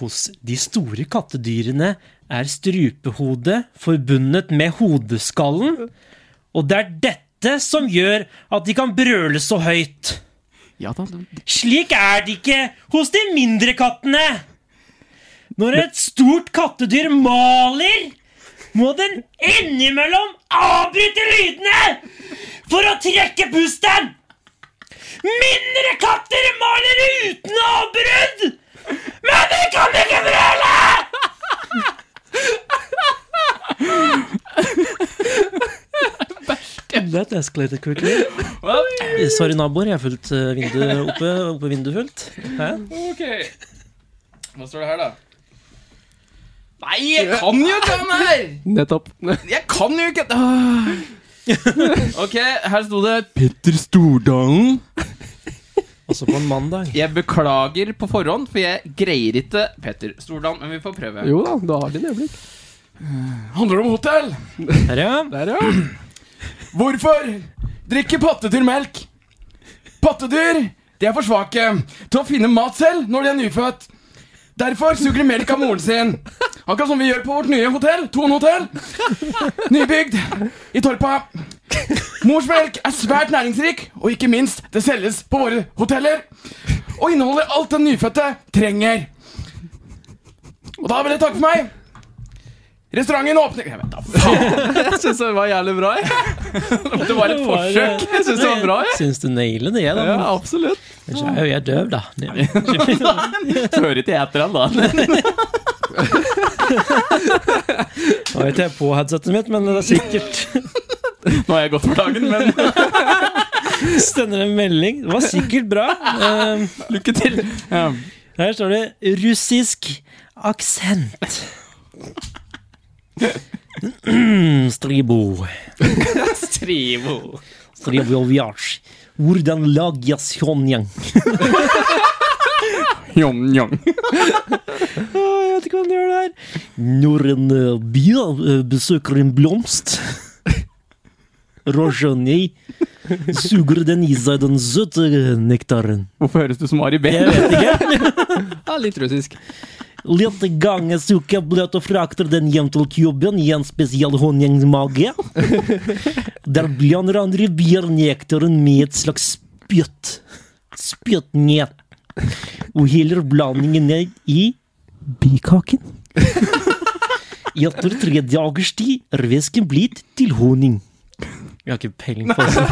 [SPEAKER 1] Hos de store kattedyrene er strupehodet forbundet med hodeskallen, og det er dette som gjør at de kan brøle så høyt. Slik er det ikke hos de mindre kattene. Når et stort kattedyr maler, må den innimellom avbryte lydene for å trekke pusten. Mindre katter maler uten avbrudd, men de kan ikke brøle! That escalated quickly. Sorry, naboer. Jeg har fullt eh, vinduet oppe. oppe vinduet fullt. Hæ?
[SPEAKER 4] Ok. Hva står det her, da? Nei, jeg kan jo ikke den her!
[SPEAKER 2] Nettopp.
[SPEAKER 4] Jeg kan jo ikke Åh. Ok, her sto det
[SPEAKER 22] Petter Stordalen.
[SPEAKER 1] Også Altså på en mandag.
[SPEAKER 4] Jeg beklager på forhånd, for jeg greier ikke Petter Stordalen, men vi får prøve.
[SPEAKER 2] Jo da, du har dine øyeblikk.
[SPEAKER 4] Handler om hotell!
[SPEAKER 1] Der, ja.
[SPEAKER 4] Hvorfor drikker pattedyr melk? Pattedyr de er for svake til å finne mat selv når de er nyfødt. Derfor suger de melk av moren sin. Akkurat som vi gjør på vårt nye hotell, Tone hotell. Nybygd i Torpa. Morsmelk er svært næringsrik, og ikke minst, det selges på våre hoteller. Og inneholder alt den nyfødte trenger. Og da vil jeg takke for meg. Restauranten åpner Jeg vet da faen! Jeg syns det var jævlig bra. Det var et forsøk. Jeg syns det var bra. jeg.
[SPEAKER 1] Syns du nailer det, jeg, da?
[SPEAKER 4] Ja, absolutt.
[SPEAKER 1] Ellers er jo jeg døv, da.
[SPEAKER 4] Så hører ikke jeg etter han, da.
[SPEAKER 1] Nå vet jeg på headsetet mitt, men det er sikkert
[SPEAKER 4] Nå har jeg gått for dagen, men
[SPEAKER 1] Sender en melding. Det var sikkert bra. Ehm,
[SPEAKER 4] Lykke til.
[SPEAKER 1] Her står det 'russisk aksent'. Stribo.
[SPEAKER 4] Strivo.
[SPEAKER 1] Stribo viasj. Hvordan lages honjang?
[SPEAKER 4] Jong-jong.
[SPEAKER 1] Jeg vet ikke hva han gjør der. Når en eh, bia eh, besøker en blomst Rojonei suger den i seg den søte nektaren.
[SPEAKER 4] Hvorfor høres du som Ari Behn?
[SPEAKER 1] Jeg vet ikke.
[SPEAKER 2] Ja, litt russisk.
[SPEAKER 1] Litt gang jeg suger bløt og frakter den hjem til klubben i en spesiell honningsmage. Der blander han revirnektaren med et slags spytt. Spytt ned. Og heller blandingen ned i bikaken. Etter tre dagers tid er væsken blitt til honning. Jeg har ikke peiling på det.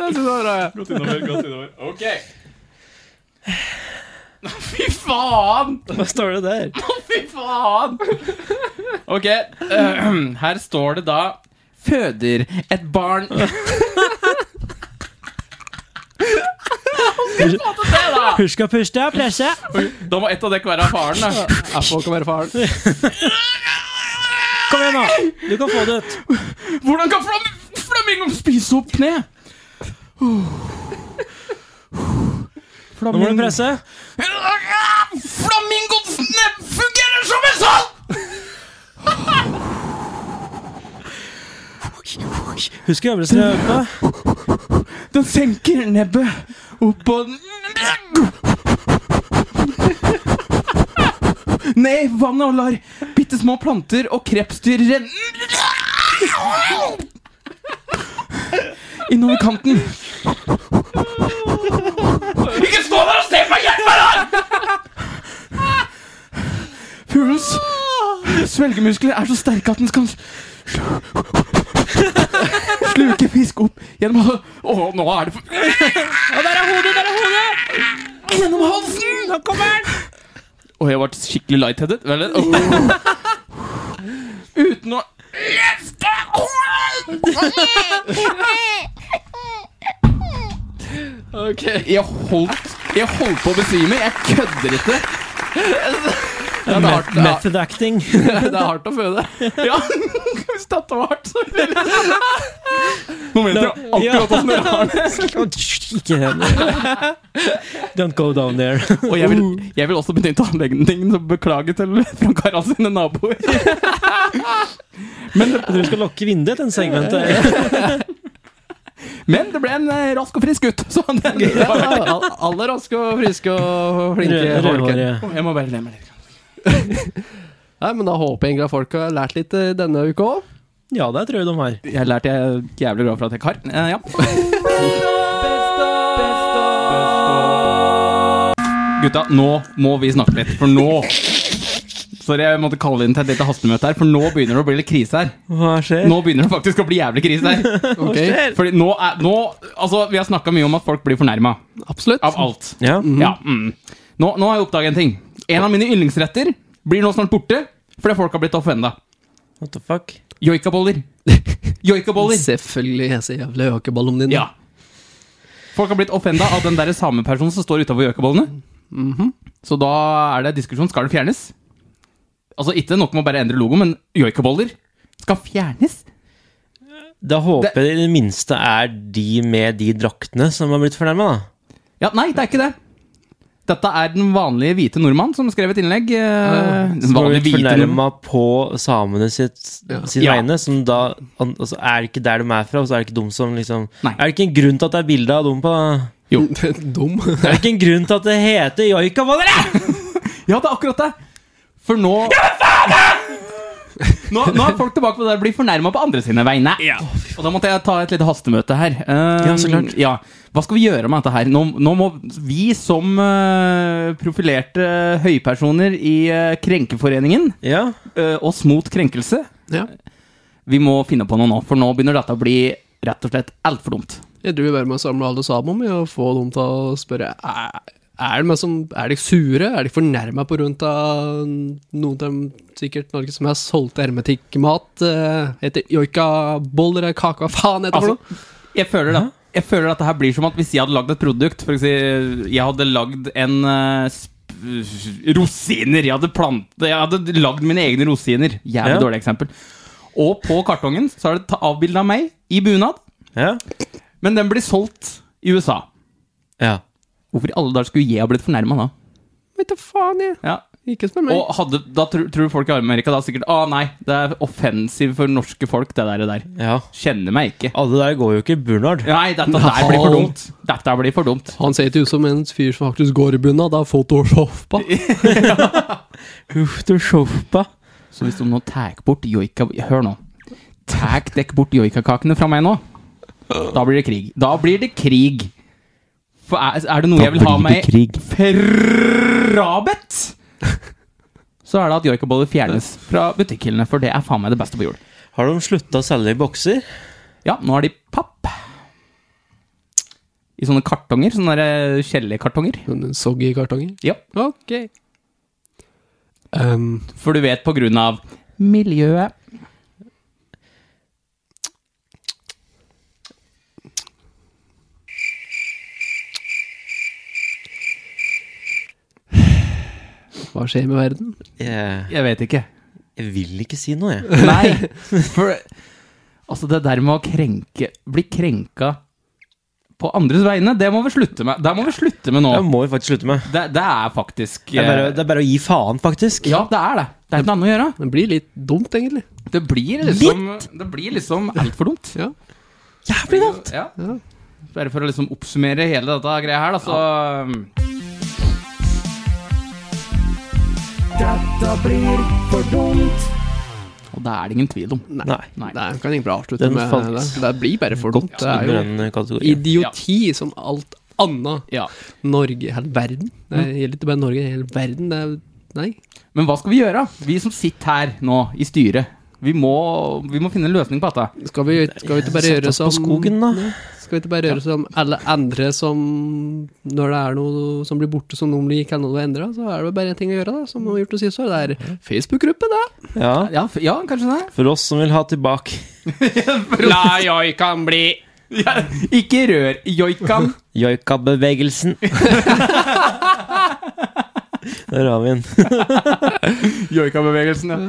[SPEAKER 4] Godt innover, godt innover. Ok. Fy faen!
[SPEAKER 1] Hva står det der?
[SPEAKER 4] Fy faen! Ok, eh, her står det da Føder et barn
[SPEAKER 1] Husk å puste og presse.
[SPEAKER 4] Da må ett av dere være faren, da.
[SPEAKER 2] Apple kan være faren.
[SPEAKER 1] Kom igjen, da. Du kan få det ut.
[SPEAKER 4] Hvordan kan flam flamingoen spise opp kne?
[SPEAKER 1] Nå må du presse.
[SPEAKER 4] Flamingoens nebb fungerer som en sånn!
[SPEAKER 1] Husk øvelsen jeg øvde på.
[SPEAKER 4] Den senker nebbet oppå Ned i vannet og lar bitte
[SPEAKER 2] bitte små planter og krepsdyr renner Innover kanten.
[SPEAKER 4] Ikke stå der og se på meg! Hjelp meg, da!
[SPEAKER 2] Fuglens svelgemuskler er så sterke at den kan sluke fisk opp gjennom hal- Å, nå er det for
[SPEAKER 4] Og der er hodet, der er hodet!
[SPEAKER 2] Gjennom halsen!
[SPEAKER 4] Nå kommer den!
[SPEAKER 2] Og jeg ble skikkelig lightheaded. Vel, Åh. Uten å
[SPEAKER 4] Løfte
[SPEAKER 15] Eh,
[SPEAKER 2] Ok Jeg holdt Jeg holdt på å besvime. Jeg kødder ikke. Det er hardt, det er-
[SPEAKER 1] Method acting.
[SPEAKER 2] Det er hardt å føde. Ja, hvis dette var hardt, så ville Nå mente jeg akkurat åssen dere har
[SPEAKER 1] det. Don't go down there.
[SPEAKER 2] Og jeg vil, jeg vil også benytte anledningen til å beklage til Frank Harald sine naboer. Men
[SPEAKER 1] du skal lokke vinduet til en segment.
[SPEAKER 2] Men det ble en eh, rask og frisk gutt. Så det,
[SPEAKER 3] Al- Alle raske og friske og flinke
[SPEAKER 2] Rød-
[SPEAKER 3] folk.
[SPEAKER 2] rødhårige. Jeg må bare le meg litt.
[SPEAKER 3] Nei, men da håper jeg egentlig at folk har lært litt eh, denne uka òg.
[SPEAKER 1] Ja, det tror jeg de har.
[SPEAKER 2] Jeg lærte jeg er jævlig glad for at jeg har. Eh, ja. Gutta, nå må vi snakke litt, for nå Sorry, jeg måtte kalle inn til et lite hastemøte her, for nå begynner det å bli litt krise her.
[SPEAKER 1] Hva skjer?
[SPEAKER 2] Nå begynner det faktisk å bli jævlig krise her.
[SPEAKER 1] Hva skjer?
[SPEAKER 2] Fordi nå er, nå, altså, vi har snakka mye om at folk blir fornærma. Absolutt. Av alt.
[SPEAKER 1] Ja.
[SPEAKER 2] Ja, mm. nå, nå har jeg oppdaget en ting. En av mine yndlingsretter blir nå snart borte fordi folk har blitt offenda.
[SPEAKER 1] What the fuck?
[SPEAKER 2] Joikaboller. Joikaboller.
[SPEAKER 3] Selvfølgelig. Jeg ser jævla joikaballen din.
[SPEAKER 2] Ja. Mm. Folk har blitt offenda av den der samepersonen som står utafor joikabollene. Så da er det diskusjon. Skal det fjernes? Altså, ikke nok med å bare endre logo, men joikaboller skal fjernes?
[SPEAKER 1] Da håper jeg det i det minste er de med de draktene som har blitt fornærma, da.
[SPEAKER 2] Ja, nei, det er ikke det. Dette er den vanlige hvite nordmann som skrev et innlegg. eh, den
[SPEAKER 1] Som har
[SPEAKER 2] vanlige
[SPEAKER 1] blitt
[SPEAKER 2] hvite nordmann.
[SPEAKER 1] fornærma på samene sitt, sin
[SPEAKER 2] Ja.
[SPEAKER 1] vegne. Som da an- altså, Er det ikke der de er fra, og så er det ikke de som liksom Er det ikke en grunn til at det er bilde av dem på
[SPEAKER 2] Jo.
[SPEAKER 3] Dum.
[SPEAKER 1] Er det ikke en grunn til at det heter joikaboller?
[SPEAKER 2] ja, det er akkurat det! For nå Nå, nå er folk tilbake på det der blir fornærma på andre sine vegne. Og da måtte jeg ta et lite hastemøte her. Eh,
[SPEAKER 1] Ja, så klart.
[SPEAKER 2] ja. Hva skal vi gjøre med dette her? Nå, nå må vi som eh, profilerte høypersoner i eh, Krenkeforeningen, eh, oss mot krenkelse, vi må finne på noe nå. For nå begynner dette å bli rett og slett altfor dumt.
[SPEAKER 3] Jeg driver bare med å samle alle sammen med å få dem til å spørre Er, er, de, som, er de sure? Er de fornærma på grunn av noen av dem sikkert Norges mest solgte hermetikkmat? eh, Heter joikaboller eller kake? Hva faen heter det for noe?
[SPEAKER 2] Altså, jeg føler det. Jeg føler at det her blir som at hvis jeg hadde lagd et produkt For å si, jeg hadde lagd en eh, sp- Rosiner! Jeg hadde, plant, jeg hadde lagd mine egne rosiner. Jævlig
[SPEAKER 1] Ja.
[SPEAKER 2] dårlig eksempel. Og på kartongen så er det ta- avbildet av meg i bunad. Men den blir solgt i USA. Hvorfor i alle dager skulle jeg ha blitt fornærma da?
[SPEAKER 3] Vet du faen, jeg.
[SPEAKER 2] Ja.
[SPEAKER 3] Ikke spør meg.
[SPEAKER 2] Og hadde, da tror, tror folk i Amerika da sikkert Å nei, det er offensiv for norske folk, det der. der. Kjenner meg ikke.
[SPEAKER 1] Alle der går jo ikke i bunad.
[SPEAKER 2] Nei, dette der blir for dumt. Dette blir for dumt.
[SPEAKER 3] Han ser ikke ut som en fyr som faktisk går i bunad. Det er photoshoppa.
[SPEAKER 1] Uff, du shoppa.
[SPEAKER 2] Så hvis de nå tar bort joika... Hør nå. Tar dekk bort joikakakene fra meg nå, da blir det krig. Da blir det krig. For er, er det noe
[SPEAKER 23] Da
[SPEAKER 2] jeg vil ha
[SPEAKER 23] blir det
[SPEAKER 2] meg frabedt, så er det at joikaboller fjernes fra butikkhyllene. For det er faen meg det beste på jord.
[SPEAKER 1] Har de slutta å selge i bokser?
[SPEAKER 2] Ja, nå er de i papp. I sånne kartonger. Sånne der eh, kjellerkartonger.
[SPEAKER 3] Soggy-kartonger?
[SPEAKER 2] Ja.
[SPEAKER 3] Ok. Ehm,
[SPEAKER 2] For du vet på grunn av Miljøet.
[SPEAKER 3] Hva skjer med verden?
[SPEAKER 1] Jeg,
[SPEAKER 2] vet ikke.
[SPEAKER 1] Jeg vil ikke si noe, jeg.
[SPEAKER 2] Nei, for Altså, det der med å krenke Bli krenka på andres vegne, det må vi slutte med. Det må vi slutte med nå. Det
[SPEAKER 1] må vi faktisk slutte med.
[SPEAKER 2] Det, er faktisk
[SPEAKER 1] Det er bare- det er bare å gi faen, faktisk.
[SPEAKER 2] Ja, det er det. Det er ikke noe annet å gjøre.
[SPEAKER 3] Det blir litt dumt, egentlig.
[SPEAKER 2] Det blir liksom Det blir liksom altfor dumt.
[SPEAKER 3] Ja.
[SPEAKER 2] Jævlig dumt! Ja. Bare for å liksom oppsummere hele dette greia her, da, så
[SPEAKER 4] Dette blir for dumt.
[SPEAKER 2] Og det er det ingen tvil om.
[SPEAKER 3] Nei. Det kan ingen bra avslutte
[SPEAKER 2] Den
[SPEAKER 3] med
[SPEAKER 2] falt
[SPEAKER 3] det. Det blir bare for dumt.
[SPEAKER 2] godt
[SPEAKER 3] Det er
[SPEAKER 2] under den
[SPEAKER 3] jo
[SPEAKER 2] kategorien.
[SPEAKER 3] idioti som alt annet. Norge, hele verden. Det
[SPEAKER 2] Mm.
[SPEAKER 3] gjelder ikke bare Norge, hele verden. Det er, nei.
[SPEAKER 2] Men hva skal vi gjøre? Vi som sitter her nå, i styret. Vi må, vi må finne en løsning på dette.
[SPEAKER 3] Skal vi, ikke bare gjøre som Skal vi ikke bare gjøre som alle andre som Når det er noe som blir borte som noen liker, eller noe endra, så er det bare én ting å gjøre, da. Som de har gjort å si så. Det er Facebook-gruppe, det.
[SPEAKER 1] Ja.
[SPEAKER 2] Ja, f- ja, kanskje det.
[SPEAKER 1] For oss som vil ha tilbake
[SPEAKER 3] La joikan bli.
[SPEAKER 2] ikke rør joikan.
[SPEAKER 1] joikabevegelsen. Der har vi den.
[SPEAKER 2] Joikabevegelsen, ja.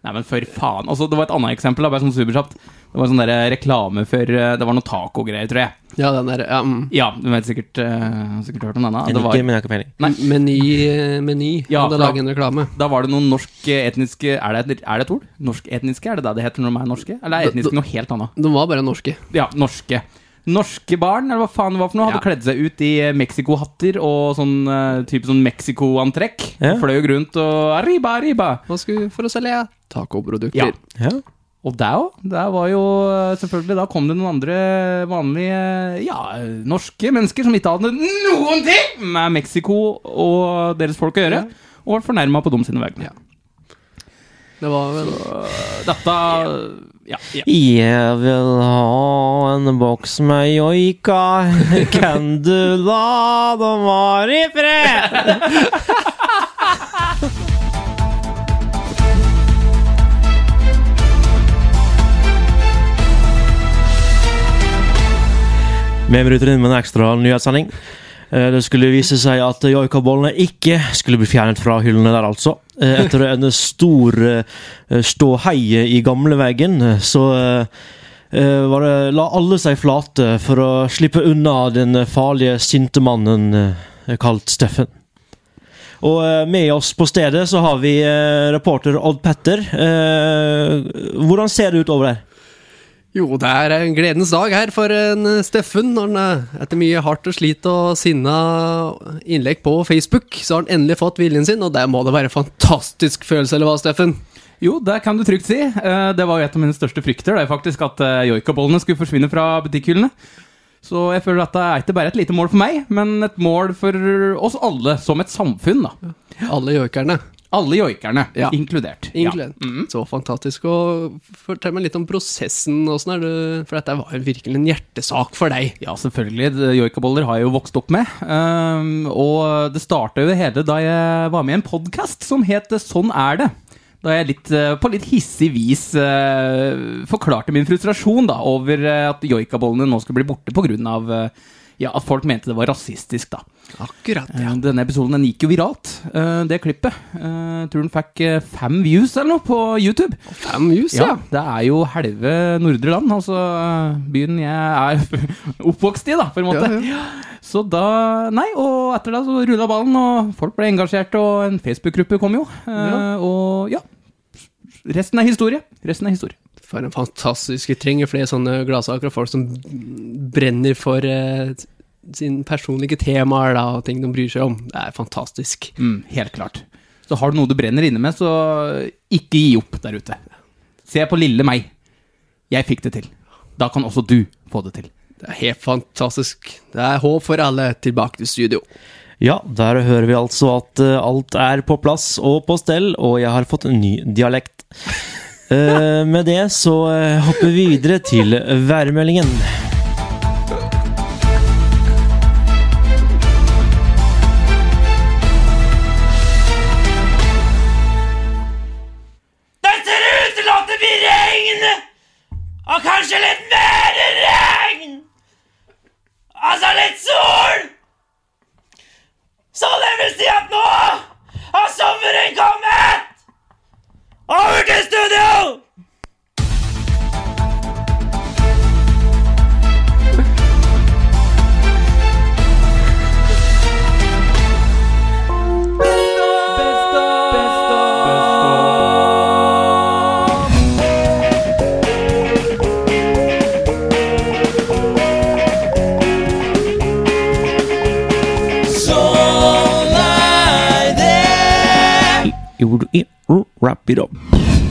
[SPEAKER 2] Nei, men for faen. Altså, det var et annet eksempel. Da, bare sånn superkjapt. Det var sånn der reklame for eh, Det var noe taco-greier, tror jeg.
[SPEAKER 3] Ja, den der, ja, mm.
[SPEAKER 2] Ja, du vet sikkert, eh, sikkert hørt om denne.
[SPEAKER 3] Jeg
[SPEAKER 2] Det var-
[SPEAKER 3] liker, men jeg har ikke peiling. Meny, eh, meny hadde
[SPEAKER 2] for da-
[SPEAKER 3] laget en reklame.
[SPEAKER 2] Da var det noen norsk eh, etniske Er det, et- er det et ord? Norsk etniske? Er det det det heter når de er norske? Eller er
[SPEAKER 3] Da-
[SPEAKER 2] etniske
[SPEAKER 3] da-
[SPEAKER 2] noe helt annet?
[SPEAKER 3] De var bare norske.
[SPEAKER 2] Ja, norske. Norske barn, eller hva faen det var for noe, hadde kledd seg ut i eh, Mexico-hatter og sånn eh, type sånn Mexico-antrekk.
[SPEAKER 3] Ja.
[SPEAKER 2] Fløy rundt og arriba, arriba.
[SPEAKER 3] Hva skulle for å selge tacoprodukter?
[SPEAKER 2] Ja. Og der òg. Der var jo eh, selvfølgelig Da kom det noen andre vanlige, eh, ja, norske mennesker som ikke hadde noen ting med Mexico og deres folk å gjøre, og ble fornærma på dem sine vegne.
[SPEAKER 3] Det var vel
[SPEAKER 2] eh, Dette ja, ja.
[SPEAKER 1] Jeg vil ha en boks med joika. Kan du la dem være i fred? Vi bryter inn med en ekstra nyhetssending. Eh, Det skulle vise seg at joikabollene ikke skulle bli fjernet fra hyllene der, altså. Eh, Etter en stor eh, ståheie i gamleveggen, så eh, eh, var det, la alle seg flate for å slippe unna den farlige, sinte mannen eh, kalt Steffen. Og eh, med oss på stedet så har vi eh, reporter Odd Petter. Eh, Hvordan ser det ut over der?
[SPEAKER 3] Jo, det er en gledens dag her for en eh, Steffen. Når han eh, etter mye hardt og slit og sinna innlegg på Facebook, så har han endelig fått viljen sin, og det må da være en fantastisk følelse, eller hva, Steffen?
[SPEAKER 2] Jo, det kan du trygt si. Eh, Det var jo et av mine største frykter, det er faktisk at eh, joikabollene skulle forsvinne fra butikkhyllene. Så jeg føler at det er ikke bare et lite mål for meg, men et mål for oss alle som et samfunn, da.
[SPEAKER 3] Alle joikerne.
[SPEAKER 2] Alle joikerne,
[SPEAKER 3] Ja. Mm-hmm.
[SPEAKER 2] inkludert.
[SPEAKER 3] Inkludert. Så fantastisk. Og fortell meg litt om prosessen, åssen er det For dette var jo virkelig en hjertesak for deg.
[SPEAKER 2] Ja, selvfølgelig. Det- Joikaboller har jeg jo vokst opp med. Ehm, og det starta jo det hele da jeg var med i en podkast som het Sånn er det. Da jeg litt, eh, på litt hissig vis eh, forklarte min frustrasjon da, over eh, at joikabollene nå skulle bli borte pga. eh, Ja, at folk mente det var rasistisk, da.
[SPEAKER 3] Akkurat,
[SPEAKER 2] ja. Denne episoden den gikk jo viralt, eh, det klippet. Eh, tror den fikk eh, fem views eller noe på YouTube.
[SPEAKER 3] Fem views, ja.
[SPEAKER 2] Det er jo halve nordre land, altså eh, byen jeg er oppvokst i, da, på en måte.
[SPEAKER 3] Ja, ja.
[SPEAKER 2] Så da Nei, og etter det så rulla ballen, og folk ble engasjert, og en Facebook-gruppe kom jo. Eh,
[SPEAKER 3] Ja.
[SPEAKER 2] Og ja. Resten er historie. Resten er historie.
[SPEAKER 3] For en fantastisk Vi trenger flere sånne gladsaker og folk som brenner for eh, sine personlige temaer da, og ting de bryr seg om. Det er fantastisk.
[SPEAKER 2] Mm, helt klart. Så har du noe du brenner inne med, så ikke gi opp der ute. Se på lille meg. Jeg fikk det til. Da kan også du få det til.
[SPEAKER 3] Det er helt fantastisk. Det er håp for alle. Tilbake til studio.
[SPEAKER 1] Ja, der hører vi altså at eh, alt er på plass og på stell, og jeg har fått en ny dialekt. Eh, med det så eh, hopper vi videre til værmeldingen.
[SPEAKER 4] Det ser ut til at det blir regn! Og kanskje litt mer regn! Altså litt sol! Så det vil si at nå har sommeren kommet! Over til studio!
[SPEAKER 24] Sånn er det.
[SPEAKER 1] would wrap it up.